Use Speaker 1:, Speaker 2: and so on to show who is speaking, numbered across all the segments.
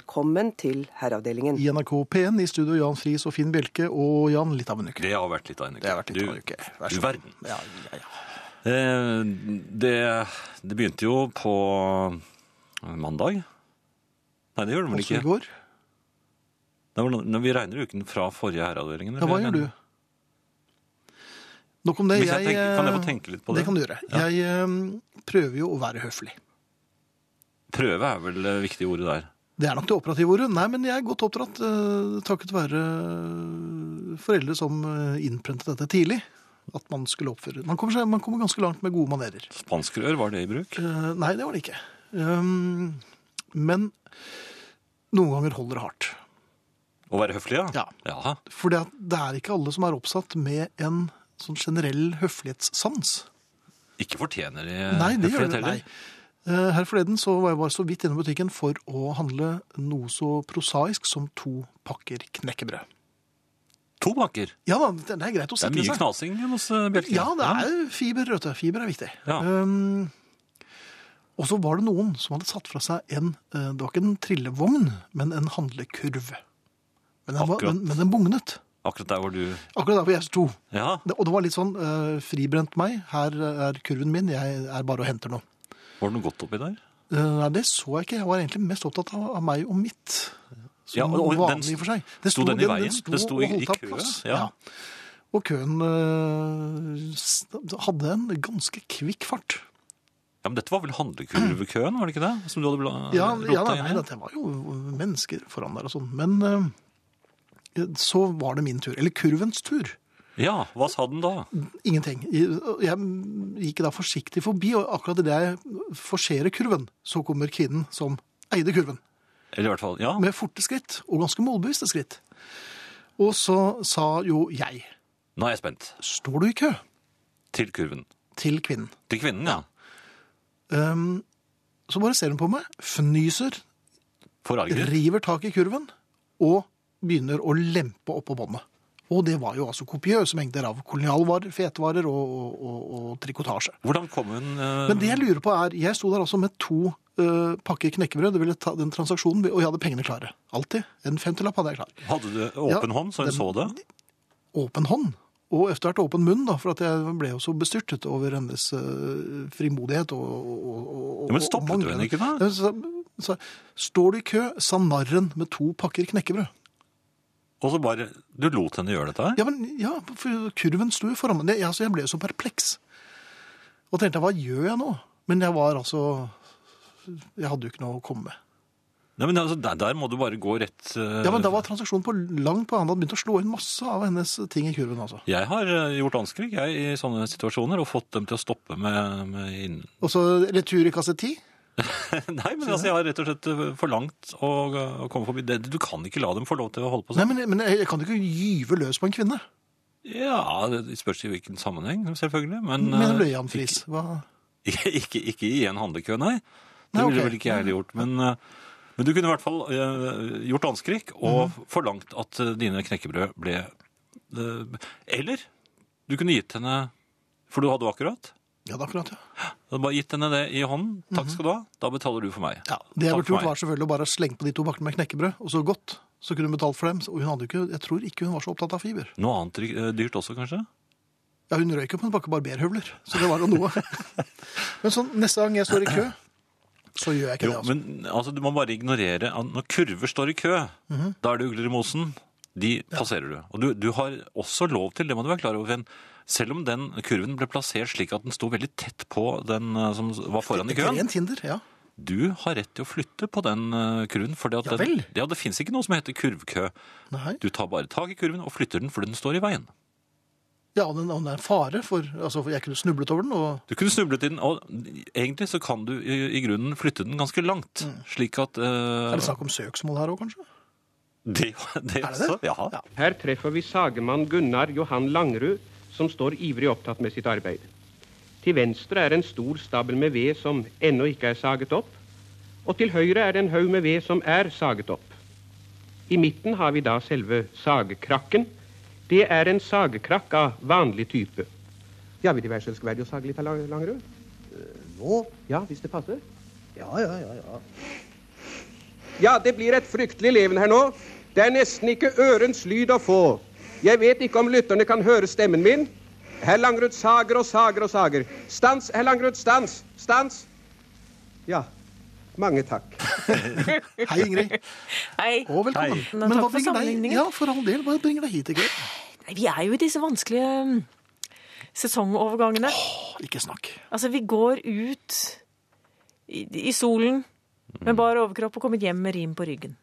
Speaker 1: Velkommen til Herreavdelingen.
Speaker 2: I NRK P1 i studio Jan Friis og Finn Bjelke og Jan litt av en uke.
Speaker 3: Det har vært litt av en uke.
Speaker 2: Det har vært litt av en
Speaker 3: Du-
Speaker 2: uke. Vær så
Speaker 3: Du
Speaker 2: god.
Speaker 3: verden.
Speaker 2: Ja, ja, ja.
Speaker 3: Eh, Det, det begynte jo på mandag. Nei, det gjør det vel
Speaker 2: Også
Speaker 3: ikke.
Speaker 2: i går.
Speaker 3: Det var, når vi regner uken fra forrige herreavdelingen.
Speaker 2: Ja, hva
Speaker 3: eller?
Speaker 2: gjør du? Nok om det.
Speaker 3: Hvis jeg tenker- kan jeg få
Speaker 2: eh,
Speaker 3: tenke litt på det?
Speaker 2: Det kan du gjøre. Jeg eh, prøver jo å være høflig.
Speaker 3: Prøve er vel det viktige ordet der.
Speaker 2: Det er nok det operative ordet. Nei, men jeg er godt oppdratt eh, takket være foreldre som eh, innprentet dette tidlig. At man skulle oppføre Man kommer, seg- man kommer ganske langt med gode manerer.
Speaker 3: Spanskrør, var det i bruk?
Speaker 2: Eh, nei, det var det ikke. Um, men noen ganger holder det hardt.
Speaker 3: Å være høflig, ja?
Speaker 2: Ja. For det, at det er ikke alle som er oppsatt med en sånn generell høflighetssans.
Speaker 3: Ikke fortjener de
Speaker 2: Nei, det gjør
Speaker 3: Eh, høflighet
Speaker 2: det. Nei.
Speaker 3: heller.
Speaker 2: Eh, Her forleden så var jeg bare så vidt inne i butikken for å handle noe så prosaisk som to pakker knekkebrød.
Speaker 3: To bakker.
Speaker 2: Ja da, det det er greit å
Speaker 3: Det er
Speaker 2: sikre
Speaker 3: mye
Speaker 2: seg.
Speaker 3: knasing hos eh, Bjelke.
Speaker 2: Ja, det er fiber, vet du. Fiber er viktig.
Speaker 3: Ja.
Speaker 2: Um, og så var det noen som hadde satt fra seg en eh, Det var ikke en trillevogn, men en handlekurv. Men den, var,
Speaker 3: Akkurat.
Speaker 2: men, men den bugnet.
Speaker 3: Akkurat der hvor du
Speaker 2: Akkurat der hvor jeg sto.
Speaker 3: Ja.
Speaker 2: Det- Og det var litt sånn eh, fribrent meg. Her eh, er kurven min, jeg er bare og henter noe.
Speaker 3: Var det noe godt oppi der?
Speaker 2: Eh, Nei, det så jeg ikke. Jeg var egentlig mest opptatt av, av meg og mitt.
Speaker 3: Ja, og- og den
Speaker 2: vanlig i og for seg. Det
Speaker 3: sto den i veien?
Speaker 2: sto
Speaker 3: Det sto
Speaker 2: og
Speaker 3: i-
Speaker 2: holdt
Speaker 3: i
Speaker 2: av
Speaker 3: kø,
Speaker 2: plass.
Speaker 3: ja.
Speaker 2: Og køen eh, s- hadde en ganske kvikk fart.
Speaker 3: Ja, men Dette var vel handlekurvekøen, var det ikke det? Som du hadde bla-
Speaker 2: Ja,
Speaker 3: rota
Speaker 2: ja nei,
Speaker 3: inn i?
Speaker 2: det var jo mennesker foran der og sånn. Men eh, så var det min tur. Eller kurvens tur.
Speaker 3: ja, hva sa den da?
Speaker 2: Ingenting. Jeg gikk da forsiktig forbi, og akkurat idet jeg forserer kurven, så kommer kvinnen som eide kurven.
Speaker 3: Eller i hvert fall, ja.
Speaker 2: med forte skritt, og ganske målbevisste skritt. Og så sa jo jeg,
Speaker 3: Nå er jeg spent.
Speaker 2: står du i kø
Speaker 3: Til kurven.
Speaker 2: til kvinnen?
Speaker 3: Til kvinnen, ja.
Speaker 2: Ehm, så bare ser hun på meg, fnyser,
Speaker 3: Forarget.
Speaker 2: river tak i kurven, og begynner å lempe oppå båndet. Og det var jo altså kopiøse mengder av kolonialvarer, fetvarer og, og, og, og trikotasje.
Speaker 3: Hvordan kom hun eh,
Speaker 2: Men det jeg lurer på er, jeg sto der altså med to eh, pakker knekkebrød, det ville ta den transaksjonen, og jeg hadde pengene klare. Alltid. En femtilapp hadde jeg klar.
Speaker 3: Hadde du åpen
Speaker 2: Ja,
Speaker 3: hånd, så hun
Speaker 2: den-
Speaker 3: så det?
Speaker 2: åpen hånd. Og etter hvert åpen munn, da, for at jeg ble jo så bestyrtet over hennes eh, frimodighet og, og, og, og
Speaker 3: Ja, men stoppet
Speaker 2: og
Speaker 3: du henne ikke da?
Speaker 2: Ja, Så, så, står du i kø, sa narren med to pakker knekkebrød.
Speaker 3: Og så bare Du lot henne gjøre dette? her?
Speaker 2: Ja, men ja, for kurven sto jo foran meg. Jeg, altså, jeg ble jo så perpleks. Og tenkte hva gjør jeg nå? Men jeg var altså Jeg hadde jo ikke noe å komme med.
Speaker 3: Nei, men altså, der, der må du bare gå rett eh,
Speaker 2: Ja, Men da var transaksjonen på langt på annen. Hadde begynt å slå inn masse av hennes ting i kurven. altså.
Speaker 3: Jeg har eh, gjort anskrik jeg, i sånne situasjoner og fått dem til å stoppe med, med inn...
Speaker 2: Og så retur i kasse ti.
Speaker 3: Nei, men altså, jeg har rett og slett eh, forlangt å, å komme forbi. Det, du kan ikke la dem få lov til å holde på
Speaker 2: Nei,
Speaker 3: sånn.
Speaker 2: men, men jeg, jeg kan jo ikke gyve løs på en kvinne.
Speaker 3: Ja, det spørs i hvilken sammenheng, selvfølgelig. Men,
Speaker 2: Mener du
Speaker 3: eh,
Speaker 2: det, Jan Friis? Hva?
Speaker 3: Ikke, ikke, ikke i en handlekø, nei. Det
Speaker 2: Nei,
Speaker 3: ville
Speaker 2: ok.
Speaker 3: vel ikke jeg heller gjort. Men, eh, men du kunne i hvert fall eh, gjort anskrik og
Speaker 2: Mhm.
Speaker 3: forlangt at eh, dine knekkebrød ble eh, Eller du kunne gitt henne For du hadde jo akkurat.
Speaker 2: Ja, det er akkurat, ja.
Speaker 3: Du hadde bare gitt henne det i hånden. Takk skal du ha. Da betaler du for meg.
Speaker 2: Mhm. ja det jeg
Speaker 3: Takk
Speaker 2: burde
Speaker 3: for
Speaker 2: gjort, var selvfølgelig å bare slenge på de to bakkene med knekkebrød, og så godt. Så kunne hun betalt for dem. Og hun hadde jo ikke, jeg tror ikke hun var så opptatt av fiber.
Speaker 3: Noe annet ry- eh, dyrt også, kanskje?
Speaker 2: Ja, hun røyk jo på en pakke barberhøvler, så det var jo noe. Men sånn, neste gang jeg står i kø, så gjør jeg ikke
Speaker 3: Jo,
Speaker 2: det. altså.
Speaker 3: men altså, du må bare ignorere at når kurver står i kø,
Speaker 2: Mhm.
Speaker 3: da er det ugler i mosen. De passerer du. Og du, du har også lov til, det må du være klar over, Finn, selv om den kurven ble plassert slik at den sto veldig tett på den eh, som var foran i
Speaker 2: Det er
Speaker 3: køen,
Speaker 2: Rent hinder, ja.
Speaker 3: du har rett til å flytte på den eh, kurven. For
Speaker 2: Ja
Speaker 3: den,
Speaker 2: vel.
Speaker 3: ja, det fins ikke noe som heter kurvkø.
Speaker 2: Nei.
Speaker 3: Du tar bare tak i kurven og flytter den fordi den står i veien.
Speaker 2: Ja, og den, og den er en fare, for altså, for jeg kunne snublet over den, og
Speaker 3: Du kunne snublet i den, og egentlig så kan du i, i grunnen flytte den ganske langt. Slik at eh,
Speaker 2: Mm. er det snakk om søksmål her òg, kanskje?
Speaker 3: det, det,
Speaker 2: Er det det?
Speaker 3: også- Ja.
Speaker 2: Ja.
Speaker 4: Her treffer vi sagemann Gunnar Johan Langrud, som står ivrig opptatt med sitt arbeid. Til venstre er en stor stabel med ved som ennå ikke er saget opp, og til høyre er det en haug med ved som er saget opp. I midten har vi da selve sagekrakken. Det er en sagekrakk av vanlig type. Ja, vil De være så elskverdige å sage litt av Lang- Langrud?
Speaker 5: Nå?
Speaker 4: Ja, hvis det passer.
Speaker 5: Ja, ja, ja. ja.
Speaker 4: Ja, det blir et fryktelig leven her nå. Det er nesten ikke ørens lyd å få. Jeg vet ikke om lytterne kan høre stemmen min. Herr Langrud sager og sager og sager. Stans, herr Langrud, stans! Stans! Ja, mange takk.
Speaker 2: Hei, Ingrid.
Speaker 5: Hei.
Speaker 2: Og velkommen.
Speaker 3: Hei.
Speaker 5: Nå, takk for
Speaker 2: bringer deg,
Speaker 5: sammenligningen.
Speaker 2: ja, for all del, hva bringer deg hit i kveld?
Speaker 5: Nei, Vi er jo i disse vanskelige mm, sesongovergangene.
Speaker 2: Åh, Ikke snakk.
Speaker 5: Altså, vi går ut i, i solen
Speaker 2: Mm.
Speaker 5: med bar overkropp og kommer hjem med rim på ryggen.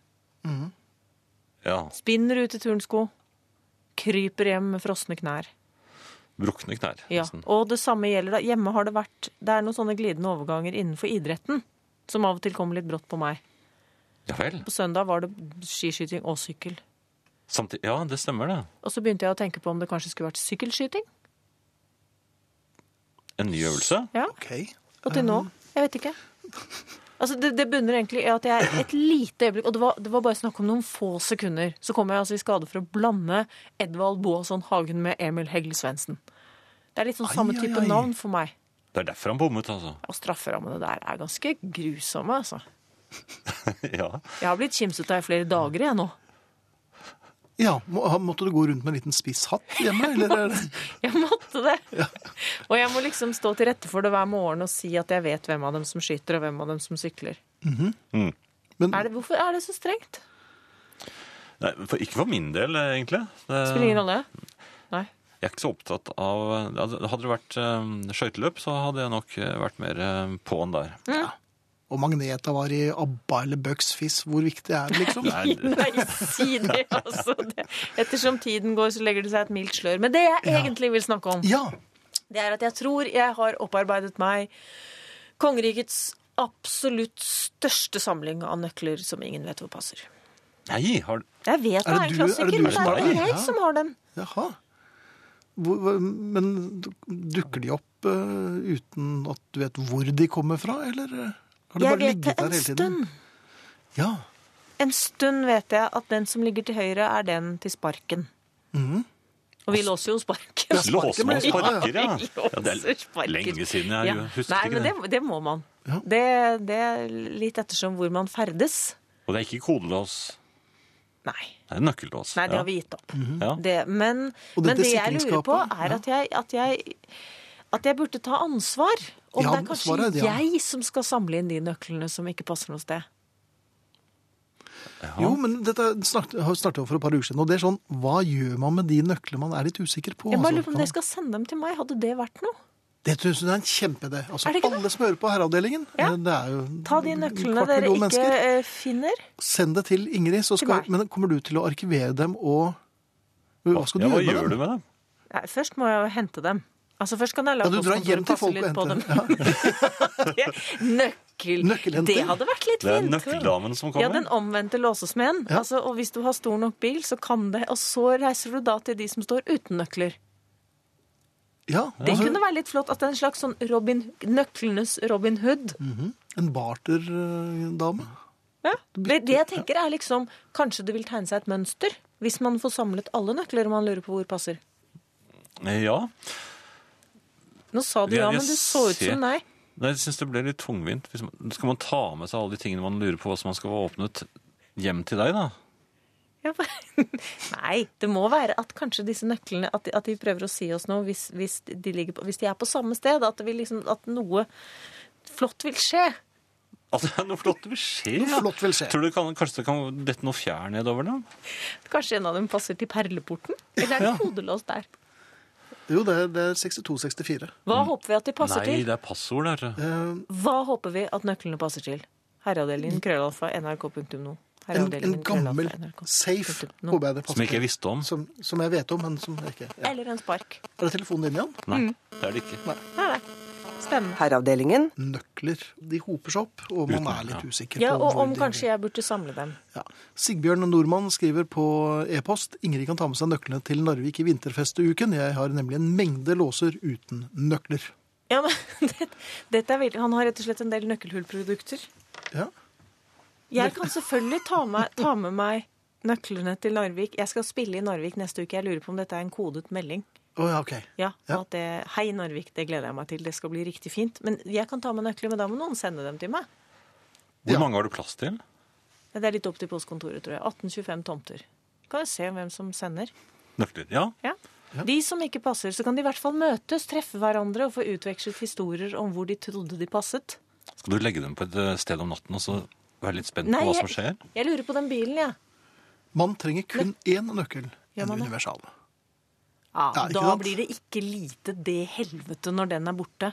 Speaker 3: Ja.
Speaker 5: Spinner ut i turnsko. Kryper hjem med frosne knær.
Speaker 3: Brukne knær.
Speaker 5: Ja,
Speaker 2: Sånn.
Speaker 3: nesten.
Speaker 5: og det samme gjelder da. Hjemme har det vært Det er noen sånne glidende overganger innenfor idretten som av og til kommer litt brått på meg.
Speaker 3: Ja vel.
Speaker 5: På søndag var det skiskyting og sykkel.
Speaker 3: Samtidig, ja, det stemmer det.
Speaker 5: Og så begynte jeg å tenke på om det kanskje skulle vært sykkelskyting.
Speaker 3: En ny øvelse.
Speaker 5: Ja,
Speaker 2: Ok.
Speaker 5: Og til nå.
Speaker 2: Um.
Speaker 5: Jeg vet ikke. Altså, det, det bunner egentlig i at jeg et lite øyeblikk Og det var, det var bare snakk om noen få sekunder. Så kom jeg altså i skade for å blande Edvald Boasson Hagen med Emil Hegl Svendsen. Det er litt sånn samme
Speaker 2: Ai, ai,
Speaker 5: type
Speaker 2: ai.
Speaker 5: navn for meg.
Speaker 3: Det er derfor han bommet, altså.
Speaker 5: Og strafferammene der er ganske grusomme, altså.
Speaker 3: ja.
Speaker 5: Jeg har blitt kimset av i flere dager, jeg nå.
Speaker 2: Ja, må, ha- måtte du gå rundt med en liten spiss hatt hjemme, eller? er det-
Speaker 5: Jeg måtte det. Og jeg må liksom stå til rette for det hver morgen og si at jeg vet hvem av dem som skyter, og hvem av dem som sykler.
Speaker 2: Mhm. Men
Speaker 5: Er det, hvorfor er det så strengt?
Speaker 3: Nei, for, ikke for min del, eh, egentlig. Det,
Speaker 5: Spiller ingen rolle. Nei.
Speaker 3: Jeg er ikke så opptatt av altså, Hadde hadde det vært eh, skøyteløp, så hadde jeg nok eh, vært mer eh, på'n der.
Speaker 5: Mm.
Speaker 2: og Magneta var i ABBA eller Bucks Fizz, hvor viktig er det, liksom?
Speaker 3: Nei,
Speaker 5: Nei, si det, altså. Det. Ettersom tiden går, så legger det seg et mildt slør. Men det jeg egentlig vil snakke om,
Speaker 2: Ja,
Speaker 5: det er at jeg tror jeg har opparbeidet meg kongerikets absolutt største samling av nøkler som ingen vet hvor passer.
Speaker 3: nei har,
Speaker 5: Jeg vet
Speaker 2: det
Speaker 5: det er en
Speaker 2: du- er det
Speaker 5: klassiker,
Speaker 2: du
Speaker 5: men det
Speaker 2: som
Speaker 5: er
Speaker 2: har
Speaker 5: ikke
Speaker 2: det?
Speaker 5: jeg
Speaker 2: Ja.
Speaker 5: som har den.
Speaker 2: jaha. Hvor, hvor- men du- dukker de opp eh, uten at du vet hvor de kommer fra, eller eh, har de
Speaker 5: Jeg
Speaker 2: bare
Speaker 5: vet
Speaker 2: ligget
Speaker 5: det
Speaker 2: der
Speaker 5: en
Speaker 2: hele tiden?
Speaker 5: stund.
Speaker 2: Ja,
Speaker 5: En stund vet jeg at den som ligger til høyre, er den til sparken.
Speaker 2: Mhm.
Speaker 5: Og vi låser jo sparken.
Speaker 3: Låser man
Speaker 2: men-
Speaker 3: sparker, ja?
Speaker 5: Vi
Speaker 3: ja det
Speaker 5: låser
Speaker 3: er
Speaker 5: sparken.
Speaker 3: lenge siden jeg
Speaker 5: Ja.
Speaker 3: husket
Speaker 5: Nei,
Speaker 3: ikke
Speaker 5: men
Speaker 3: det.
Speaker 5: det, det må man.
Speaker 2: Ja.
Speaker 5: Det, det er litt ettersom hvor man ferdes.
Speaker 3: Og det er ikke kodelås.
Speaker 5: Nei,
Speaker 3: Det er nøkkellås.
Speaker 5: Nei det
Speaker 3: ja.
Speaker 5: har vi gitt opp.
Speaker 3: Ja.
Speaker 5: det, men,
Speaker 2: Mhm. Og
Speaker 5: men
Speaker 2: dette
Speaker 5: det jeg lurer på,
Speaker 2: sikringsskapet,
Speaker 5: er
Speaker 2: ja.
Speaker 5: at jeg, at jeg, at jeg burde ta ansvar. Om
Speaker 2: Ja,
Speaker 5: det er kanskje
Speaker 2: svaret er det, ja.
Speaker 5: jeg som skal samle inn de nøklene som ikke passer noe sted.
Speaker 2: Jo, men dette snakket har vi snakket om for et par uker siden, og det er sånn, hva gjør man med de nøklene man er litt usikker på?
Speaker 5: Jeg
Speaker 2: altså?
Speaker 5: bare lurer på om
Speaker 2: Kan-
Speaker 5: dere skal sende dem til meg. Hadde det vært noe?
Speaker 2: Det synes jeg er en kjempeidé. Altså,
Speaker 5: Er det ikke
Speaker 2: alle som hører på herreavdelingen,
Speaker 5: Ja.
Speaker 2: eh, det er jo
Speaker 5: Ta de
Speaker 2: en
Speaker 5: nøklene
Speaker 2: kvart
Speaker 5: dere
Speaker 2: million
Speaker 5: ikke
Speaker 2: mennesker.
Speaker 5: eh, finner.
Speaker 2: Send det til Ingrid, så skal,
Speaker 5: meg.
Speaker 2: men kommer du til å arkivere dem og Hva skal du
Speaker 3: ja, hva
Speaker 2: gjøre
Speaker 3: gjør
Speaker 2: med
Speaker 3: du
Speaker 2: dem?
Speaker 3: med dem?
Speaker 5: Nei, først må jeg jo hente dem. Altså Først kan jeg la
Speaker 2: Ja, du drar
Speaker 5: postkontoret
Speaker 2: hjem til
Speaker 5: passe
Speaker 2: folk og
Speaker 5: litt på
Speaker 2: henter dem.
Speaker 5: dem. Nøkkel.
Speaker 2: Nøkkelhenting.
Speaker 5: Det hadde vært litt
Speaker 3: Det er
Speaker 5: fint.
Speaker 3: nøkkeldamen som
Speaker 5: Ja,
Speaker 3: kommer.
Speaker 5: den omvendte låsesmeden. Altså, og hvis du har stor nok bil, så kan det. Og så reiser du da til de som står uten nøkler.
Speaker 2: Ja,
Speaker 5: Det
Speaker 2: altså,
Speaker 5: kunne være litt flott at det er en slags sånn Robin, nøklenes Robin Hood.
Speaker 2: Mm. En barterdame.
Speaker 5: Ja. Det, det jeg tenker er liksom, Kanskje det vil tegne seg et mønster hvis man får samlet alle nøkler man lurer på hvor passer.
Speaker 3: Ja.
Speaker 5: Nå sa du
Speaker 3: Jeg-
Speaker 5: ja,
Speaker 3: jeg
Speaker 5: men du så ut
Speaker 3: ser-
Speaker 5: som nei.
Speaker 3: Nei, Jeg syns det ble litt tungvint. Hvis man, skal man ta med seg alle de tingene man lurer på hva som man skal få åpnet, hjem til deg, da?
Speaker 5: Ja, hva- Nei, det må være at kanskje disse nøklene At de, at de prøver å si oss noe hvis, hvis, de ligger på, hvis de er på samme sted. At, det vil liksom, at noe flott vil skje.
Speaker 3: At Altså, det er noe flott vil skje?
Speaker 2: Noe
Speaker 3: ja.
Speaker 2: flott vil skje.
Speaker 3: Tror du det kan, kanskje det kan dette noe fjær nedover dem?
Speaker 5: Kanskje en av dem passer til perleporten? Eller er det kodelås der?
Speaker 2: Jo, det er, det er 62-64.
Speaker 5: Hva håper vi at de passer
Speaker 3: Nei,
Speaker 5: til?
Speaker 3: det er passord der. eh,
Speaker 2: Eh,
Speaker 5: Hva håper vi at nøklene passer til? Herreavdelingen krøllalfa
Speaker 2: En,
Speaker 5: nrk.no.
Speaker 2: en
Speaker 5: Herreavdelingen,
Speaker 2: gammel
Speaker 5: krøllalfa, NRK.
Speaker 2: safe,
Speaker 5: Nå.
Speaker 2: håper jeg det passer
Speaker 3: Som ikke jeg visste om.
Speaker 2: til. Som, som jeg vet om, men som jeg ikke ja.
Speaker 5: Eller en spark.
Speaker 2: Er det telefonen din igjen?
Speaker 3: Nei,
Speaker 5: Mm.
Speaker 3: det er det ikke.
Speaker 5: Spennende.
Speaker 1: Herreavdelingen.
Speaker 2: Nøkler. De hoper seg opp, og man
Speaker 3: Uten,
Speaker 2: er
Speaker 3: ja.
Speaker 2: litt usikker.
Speaker 5: Ja,
Speaker 2: på
Speaker 5: og
Speaker 2: hvor
Speaker 5: om
Speaker 2: de-
Speaker 5: kanskje jeg burde samle dem.
Speaker 2: Ja. Sigbjørn Nordmann skriver på e-post Ingrid kan ta med seg nøklene til Narvik i vinterfesteuken. Jeg har nemlig en mengde låser uten nøkler.
Speaker 5: Ja, men det, dette er veldig, Han har rett og slett en del nøkkelhullprodukter.
Speaker 2: Ja.
Speaker 5: Jeg kan selvfølgelig ta med, ta med meg nøklene til Narvik. Jeg skal spille i Narvik neste uke. Jeg lurer på om dette er en kodet melding.
Speaker 2: Å ja, ok.
Speaker 5: Ja,
Speaker 2: Ja.
Speaker 5: og at det, Hei, Narvik, det gleder jeg meg til. Det skal bli riktig fint. Men jeg kan ta med nøkler, men da må noen sende dem til meg.
Speaker 3: Hvor
Speaker 2: Ja.
Speaker 3: mange har du plass til?
Speaker 5: Det er litt opp til postkontoret, tror jeg. 1825 tomter. Kan jo se hvem som sender.
Speaker 3: Nøkler. Ja.
Speaker 5: Ja. De som ikke passer, så kan de i hvert fall møtes, treffe hverandre og få utvekslet historier om hvor de trodde de passet.
Speaker 3: Skal du legge dem på et eh, sted om natten og så være litt spent på hva som skjer?
Speaker 5: jeg, jeg lurer på den bilen, jeg.
Speaker 2: Man trenger kun én nøkkel,
Speaker 5: Gjør
Speaker 2: en
Speaker 5: man det?
Speaker 2: universal.
Speaker 5: Ja,
Speaker 2: Ja, ikke
Speaker 5: da
Speaker 2: sant?
Speaker 5: blir det ikke lite det helvete når den er borte.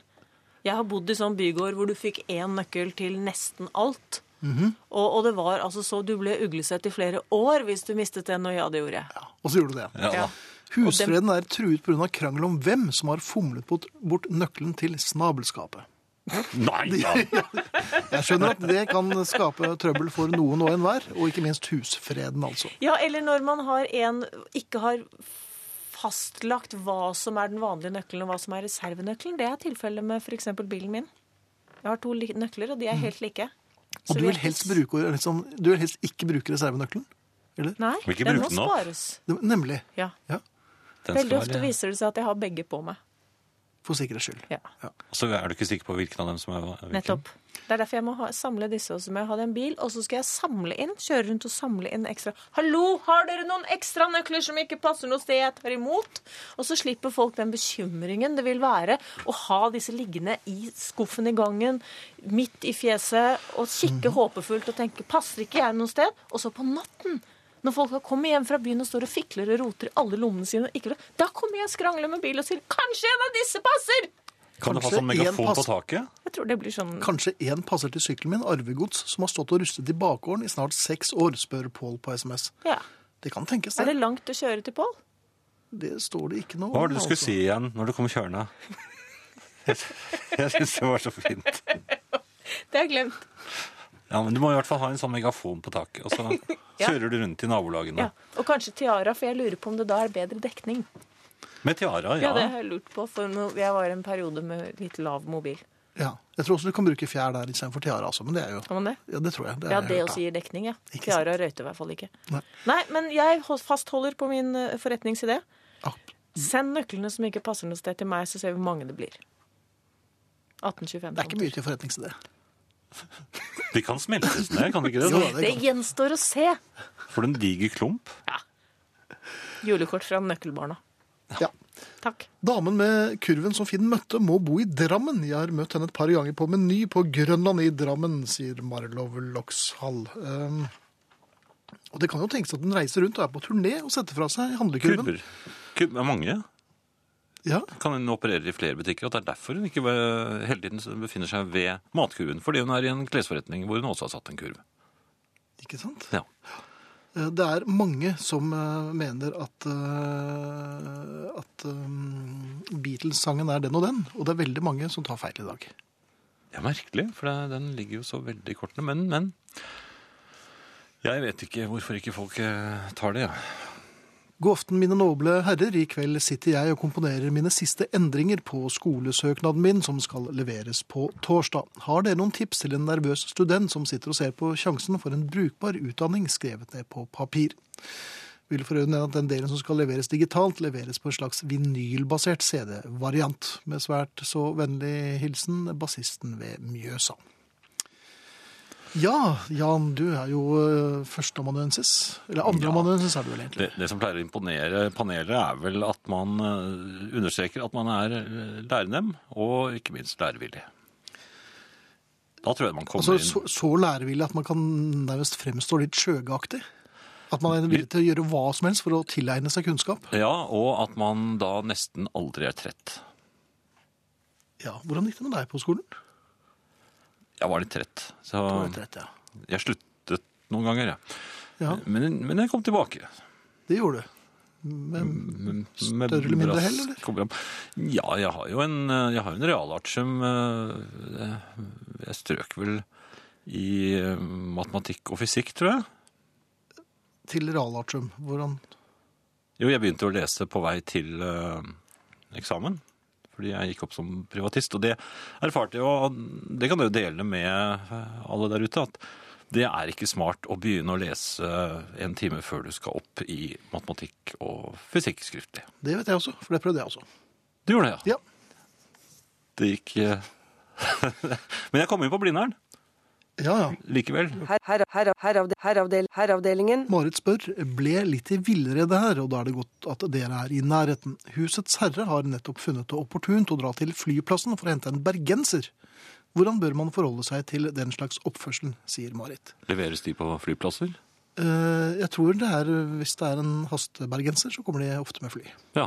Speaker 5: Jeg har bodd i sånn bygård hvor du fikk én nøkkel til nesten alt.
Speaker 2: Mhm.
Speaker 5: og, og det var altså så du ble uglesett i flere år hvis du mistet den, og ja, det gjorde jeg.
Speaker 2: Ja, og så gjorde du det.
Speaker 3: Ja,
Speaker 5: Ja.
Speaker 3: da.
Speaker 2: Husfreden er truet pga. krangel om hvem som har fomlet bort, bort nøkkelen til snabelskapet.
Speaker 3: Nei da!
Speaker 2: Jeg skjønner at det kan skape trøbbel for noen og enhver, og ikke minst husfreden, altså.
Speaker 5: Ja, eller når man har en, ikke har fastlagt hva som er den vanlige nøkkelen og hva som er reservenøkkelen. Det er tilfellet med f.eks. bilen min. Jeg har to li- nøkler, og de er helt like. Så
Speaker 2: Mhm. Og du
Speaker 5: vi
Speaker 2: vil
Speaker 5: er-
Speaker 2: helst, bruke, liksom, du vil helst ikke bruke reservenøkkelen? Eller?
Speaker 5: Nei,
Speaker 3: Vil ikke
Speaker 5: den
Speaker 3: bruke
Speaker 5: må
Speaker 3: den opp.
Speaker 5: spares.
Speaker 2: Det- Nemlig.
Speaker 5: Ja.
Speaker 2: Ja,
Speaker 3: Den skal
Speaker 5: Veldig ofte
Speaker 3: være-
Speaker 5: viser det seg at jeg har begge på meg.
Speaker 2: For sikkerhets skyld.
Speaker 5: Ja.
Speaker 3: Så er du ikke sikker på hvilken av dem som er hvilken?
Speaker 5: Nettopp. Det er derfor jeg må ha, samle disse, og så må jeg ha det i en bil. Og så skal jeg samle inn, kjøre rundt og samle inn ekstra. Hallo, har dere noen ekstra nøkler som ikke passer noe sted jeg tar imot? Og så slipper folk den bekymringen det vil være å ha disse liggende i skuffen i gangen, midt i fjeset, og kikke håpefullt og tenke 'passer ikke jeg noe sted?' Og så på natten. Når folk har kommet hjem fra byen og står og fikler og roter i alle lommene sine, og ikke, da kommer jeg og skrangler med bil og sier 'kanskje en av disse passer'!
Speaker 3: Kan du ha
Speaker 2: Kanskje
Speaker 3: sånn
Speaker 2: en
Speaker 3: megafon på
Speaker 2: pass-
Speaker 3: taket?
Speaker 5: Jeg tror det blir sånn
Speaker 2: Kanskje én passer til sykkelen min, arvegods, som har stått og rustet i bakgården i snart seks år, spør Pål på SMS.
Speaker 5: ja.
Speaker 2: Det kan tenkes,
Speaker 5: Er det
Speaker 2: det.
Speaker 5: langt å kjøre til Pål?
Speaker 2: Det står det ikke noe
Speaker 3: Hva var det du skulle
Speaker 2: altså.
Speaker 3: si igjen når du kom kjørende? Jeg syns det var så fint.
Speaker 5: Det har jeg glemt.
Speaker 3: Ja, men Du må i hvert fall ha en sånn megafon på taket, og så
Speaker 5: Ja.
Speaker 3: kjører du rundt i nabolagene.
Speaker 5: Ja. Og kanskje tiara, for jeg lurer på om det da er bedre dekning.
Speaker 3: Med tiara,
Speaker 5: Ja,
Speaker 3: ja.
Speaker 5: det har jeg lurt på, for nå- jeg var i en periode med litt lav mobil.
Speaker 2: Ja. Jeg tror også du kan bruke fjær der istedenfor tiara, altså. Men det er jo
Speaker 5: Kan man det?
Speaker 2: Ja, det tror jeg. Det
Speaker 5: Ja,
Speaker 2: har jeg
Speaker 5: det
Speaker 2: hørt,
Speaker 5: også
Speaker 2: ja.
Speaker 5: gir dekning, ja.
Speaker 2: Ikke
Speaker 5: Tiara røyter i hvert fall ikke.
Speaker 2: Nei.
Speaker 5: Nei, men jeg hold- fastholder på min eh, forretningsidé.
Speaker 2: Ah,
Speaker 5: Send nøklene som ikke passer noe sted til meg, så ser vi hvor mange det blir. 1825.
Speaker 2: Det er ikke mye til forretningsidé.
Speaker 3: De kan smeltes ned, kan de
Speaker 2: Jo,
Speaker 3: ikke det?
Speaker 2: det
Speaker 5: Sånn. Det
Speaker 2: kan-
Speaker 5: gjenstår å se.
Speaker 3: Får du en diger klump?
Speaker 5: Julekort fra nøkkelbarna.
Speaker 2: Ja.
Speaker 5: Takk.
Speaker 2: Damen med kurven som Finn møtte, må bo i Drammen. Jeg har møtt henne et par ganger på Meny på Grønland i Drammen, sier Marlov Lokshall. Um, og det kan jo tenkes at hun reiser rundt og er på turné og setter fra seg handlekurven.
Speaker 3: Kurver. Kurver er mange.
Speaker 2: Ja,
Speaker 3: Kan hun operere i flere butikker, og det er derfor hun ikke eh, hele tiden befinner seg ved matkurven. Fordi hun er i en klesforretning hvor hun også har satt en kurv.
Speaker 2: ikke sant?
Speaker 3: Ja.
Speaker 2: Eh, Det er mange som eh, mener at, eh, at eh, Beatles-sangen er den og den, og det er veldig mange som tar feil i dag.
Speaker 3: Ja, merkelig, for det, den ligger jo så veldig i kortene. Men, men Jeg vet ikke hvorfor ikke folk eh, tar det, jeg. Ja.
Speaker 2: God aften, mine noble herrer. I kveld sitter jeg og komponerer mine siste endringer på skolesøknaden min, som skal leveres på torsdag. Har dere noen tips til en nervøs student som sitter og ser på sjansen for en brukbar utdanning skrevet ned på papir? Vil for øvrig nevne at den delen som skal leveres digitalt, leveres på en slags vinylbasert CD-variant. Med svært så vennlig hilsen bassisten ved Mjøsa. Ja, Jan, du er jo eh, førsteamanuensis. Eller andreamanuensis er du vel egentlig?
Speaker 3: Det, det som pleier å imponere panelet, er vel at man eh, understreker at man er eh, lærenem, og ikke minst lærevillig. Da tror jeg man kommer
Speaker 2: Altså, så, så lærevillig at man kan nærmest fremstå litt skjøgeaktig? At man er villig til å gjøre hva som helst for å tilegne seg kunnskap?
Speaker 3: inn Ja, og at man da nesten aldri er trett.
Speaker 2: Ja, Hvordan gikk det med deg på skolen?
Speaker 3: Jeg var litt trett, så
Speaker 2: Du var litt rett, ja.
Speaker 3: jeg sluttet noen ganger, jeg.
Speaker 2: ja.
Speaker 3: Men, men jeg kom tilbake.
Speaker 2: Det gjorde du. Men,
Speaker 3: Med
Speaker 2: Større eller mindre
Speaker 3: brask
Speaker 2: hell, eller?
Speaker 3: kommer han. Ja, jeg har jo en, eh, jeg har jo en realart som eh, Jeg strøk vel i eh, matematikk og fysikk, tror jeg.
Speaker 2: til realartium, hvordan
Speaker 3: Jo, jeg begynte å lese på vei til eh, eksamen. Fordi jeg gikk opp som privatist. Og det erfarte jeg jo, og det kan jeg jo dele med eh, alle der ute, at det er ikke smart å begynne å lese en time før du skal opp i matematikk og fysikk skriftlig.
Speaker 2: Det vet jeg også, for det prøvde jeg også.
Speaker 3: Du gjorde det, ja?
Speaker 2: Ja.
Speaker 3: Det gikk eh, Men jeg kom inn på Blindern.
Speaker 2: Ja, ja.
Speaker 3: likevel.
Speaker 1: Her, her, her, heravde- heravdel, herravdelingen.
Speaker 2: Marit spør ble litt i villrede her, og da er det godt at dere er i nærheten. Husets herre har nettopp funnet det opportunt å dra til flyplassen for å hente en bergenser. Hvordan bør man forholde seg til den slags oppførsel, sier Marit.
Speaker 3: Leveres de på flyplasser?
Speaker 2: Eh, Jeg tror det er, hvis det er en hastebergenser, så kommer de ofte med fly.
Speaker 3: Ja.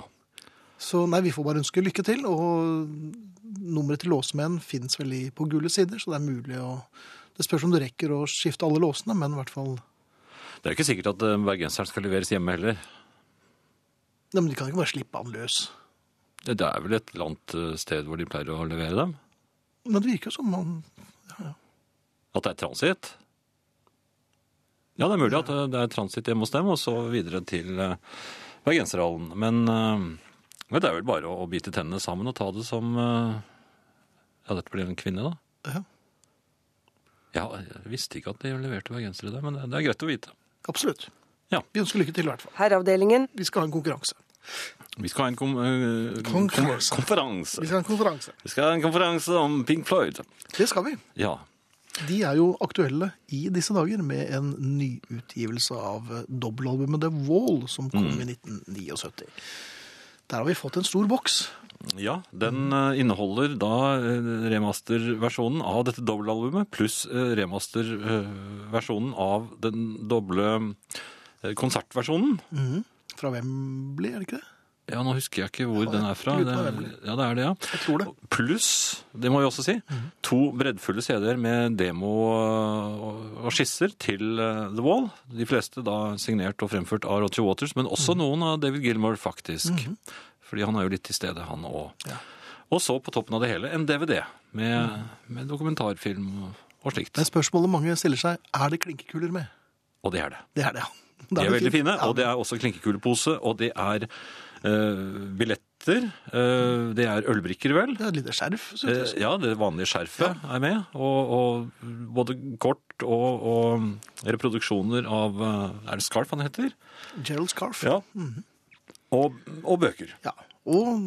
Speaker 2: Så nei, vi får bare ønske lykke til, og nummeret til låsmenn finnes vel i- på gule sider, så det er mulig å Det spørs om du rekker å skifte alle låsene, men i hvert fall
Speaker 3: Det er jo ikke sikkert at eh, bergenseren skal leveres hjemme heller.
Speaker 2: Nei, men de kan ikke bare slippe han løs.
Speaker 3: Det er vel et eller annet eh, sted hvor de pleier å levere dem?
Speaker 2: Men det virker jo som han
Speaker 3: At det er transit? Ja, det er mulig at eh, det er transit hjemme hos dem, og så videre til eh, Bergenserhallen. Men eh, men det er vel bare å, å bite tennene sammen og ta det som eh, Ja, dette blir en kvinne, da.
Speaker 2: Ja.
Speaker 3: Ja, jeg visste ikke at de leverte bergensere der, men det det er greit å vite.
Speaker 2: Absolutt.
Speaker 3: Ja.
Speaker 2: Vi ønsker lykke til, i hvert fall.
Speaker 1: Herreavdelingen.
Speaker 2: Vi skal ha en konkurranse.
Speaker 3: Vi skal ha en kom, eh, kom,
Speaker 2: Konkurranse.
Speaker 3: konferanse.
Speaker 2: Vi skal ha en konferanse.
Speaker 3: Vi skal ha en konferanse om Pink Floyd.
Speaker 2: Det skal vi.
Speaker 3: Ja.
Speaker 2: De er jo aktuelle i disse dager med en nyutgivelse av eh, dobbeltalbumet The Wall, som kom
Speaker 3: Mm.
Speaker 2: i 1979. Der har vi fått en stor boks.
Speaker 3: Ja, den eh, inneholder da eh, remasterversjonen av dette dobbeltalbumet, pluss eh, remasterversjonen av den doble eh, konsertversjonen.
Speaker 2: Mm. Fra Wembley, er det ikke det?
Speaker 3: Ja, nå husker jeg ikke hvor den er fra.
Speaker 2: ikke
Speaker 3: Det,
Speaker 2: uten å
Speaker 3: ja, det er det, ja.
Speaker 2: Jeg tror det. Mhm.
Speaker 3: Pluss, det må vi også si, to breddfulle CD-er med demo eh, og, og skisser til eh, The Wall. De fleste da signert og fremført av Roger Waters, men også
Speaker 2: Mhm.
Speaker 3: noen av David Gilmore, faktisk. Fordi han er jo litt til stede, han òg. Og så på toppen av det hele en DVD med, med dokumentarfilm og, og slikt.
Speaker 2: Mhm. Men spørsmålet mange stiller seg, er det klinkekuler med?
Speaker 3: Og det er det.
Speaker 2: Det er det, ja. Det
Speaker 3: De er
Speaker 2: det
Speaker 3: veldig
Speaker 2: fint.
Speaker 3: fine,
Speaker 2: Ja,
Speaker 3: og det er også klinkekulepose, og det er eh, billetter,
Speaker 2: Mhm.
Speaker 3: eh, det er ølbrikker, vel?
Speaker 2: det er et lite skjerf, synes jeg.
Speaker 3: Eh, Ja, det vanlige skjerfet er med, og, og både kort og, og reproduksjoner av eh, Er det scarf han heter? Mhm.
Speaker 2: Gerald Scarf.
Speaker 3: Og, og bøker.
Speaker 2: Ja. Og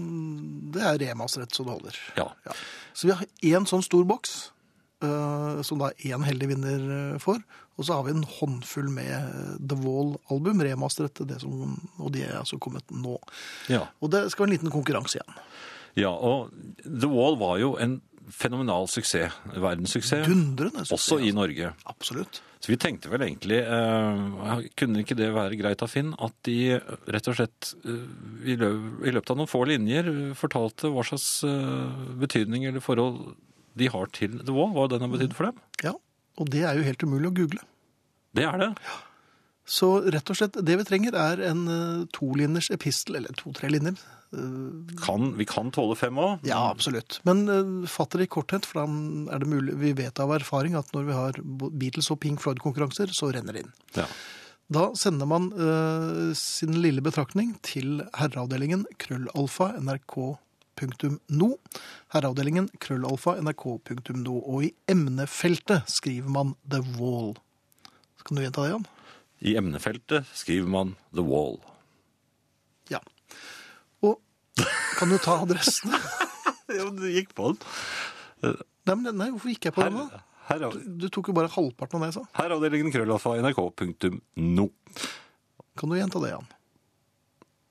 Speaker 2: det er remasteret, så det holder.
Speaker 3: Ja.
Speaker 2: Ja. Så vi har én sånn stor boks, eh, som da én heldig vinner eh, får. Og så har vi en håndfull med eh, The Wall-album, remasteret til det som Og de er altså kommet nå.
Speaker 3: ja.
Speaker 2: Og det skal være en liten konkurranse igjen.
Speaker 3: ja. Og The Wall var jo en fenomenal suksess. Verdenssuksess.
Speaker 2: Dundrende. suksess,
Speaker 3: Også i Norge.
Speaker 2: altså. Absolutt.
Speaker 3: Så vi tenkte vel egentlig eh, Kunne ikke det være greit av Finn at de rett og slett eh, i, løp, i løpet av noen få linjer eh, fortalte hva slags eh, betydning eller forhold de har til The Wall? Hva den har betydd for dem?
Speaker 2: Ja. Og det er jo helt umulig å google.
Speaker 3: Det er det.
Speaker 2: Så rett og slett, det vi trenger, er en eh, toliners epistel, eller to-tre linjer. Eh,
Speaker 3: kan, vi kan tåle fem òg.
Speaker 2: Ja, absolutt. Men eh, fatt det i korthet, for da er det mulig Vi vet av erfaring at når vi har Beatles og Pink Floyd-konkurranser, så renner det inn.
Speaker 3: Ja.
Speaker 2: Da sender man eh, sin lille betraktning til herreavdelingen krøllalfa nrk.no. Herreavdelingen krøllalfa nrk.no. Og i emnefeltet skriver man The Wall. Kan du gjenta det, Jan?
Speaker 3: I emnefeltet skriver man The Wall.
Speaker 2: Ja. Og kan du ta adressene?
Speaker 3: Ja, men du gikk på den.
Speaker 2: nei, men, nei, hvorfor gikk jeg på det nå?
Speaker 3: Her, her,
Speaker 2: Du tok jo bare halvparten av det jeg sa.
Speaker 3: heravdelingen krøllalfa nrk.no.
Speaker 2: Kan du gjenta det, Jan?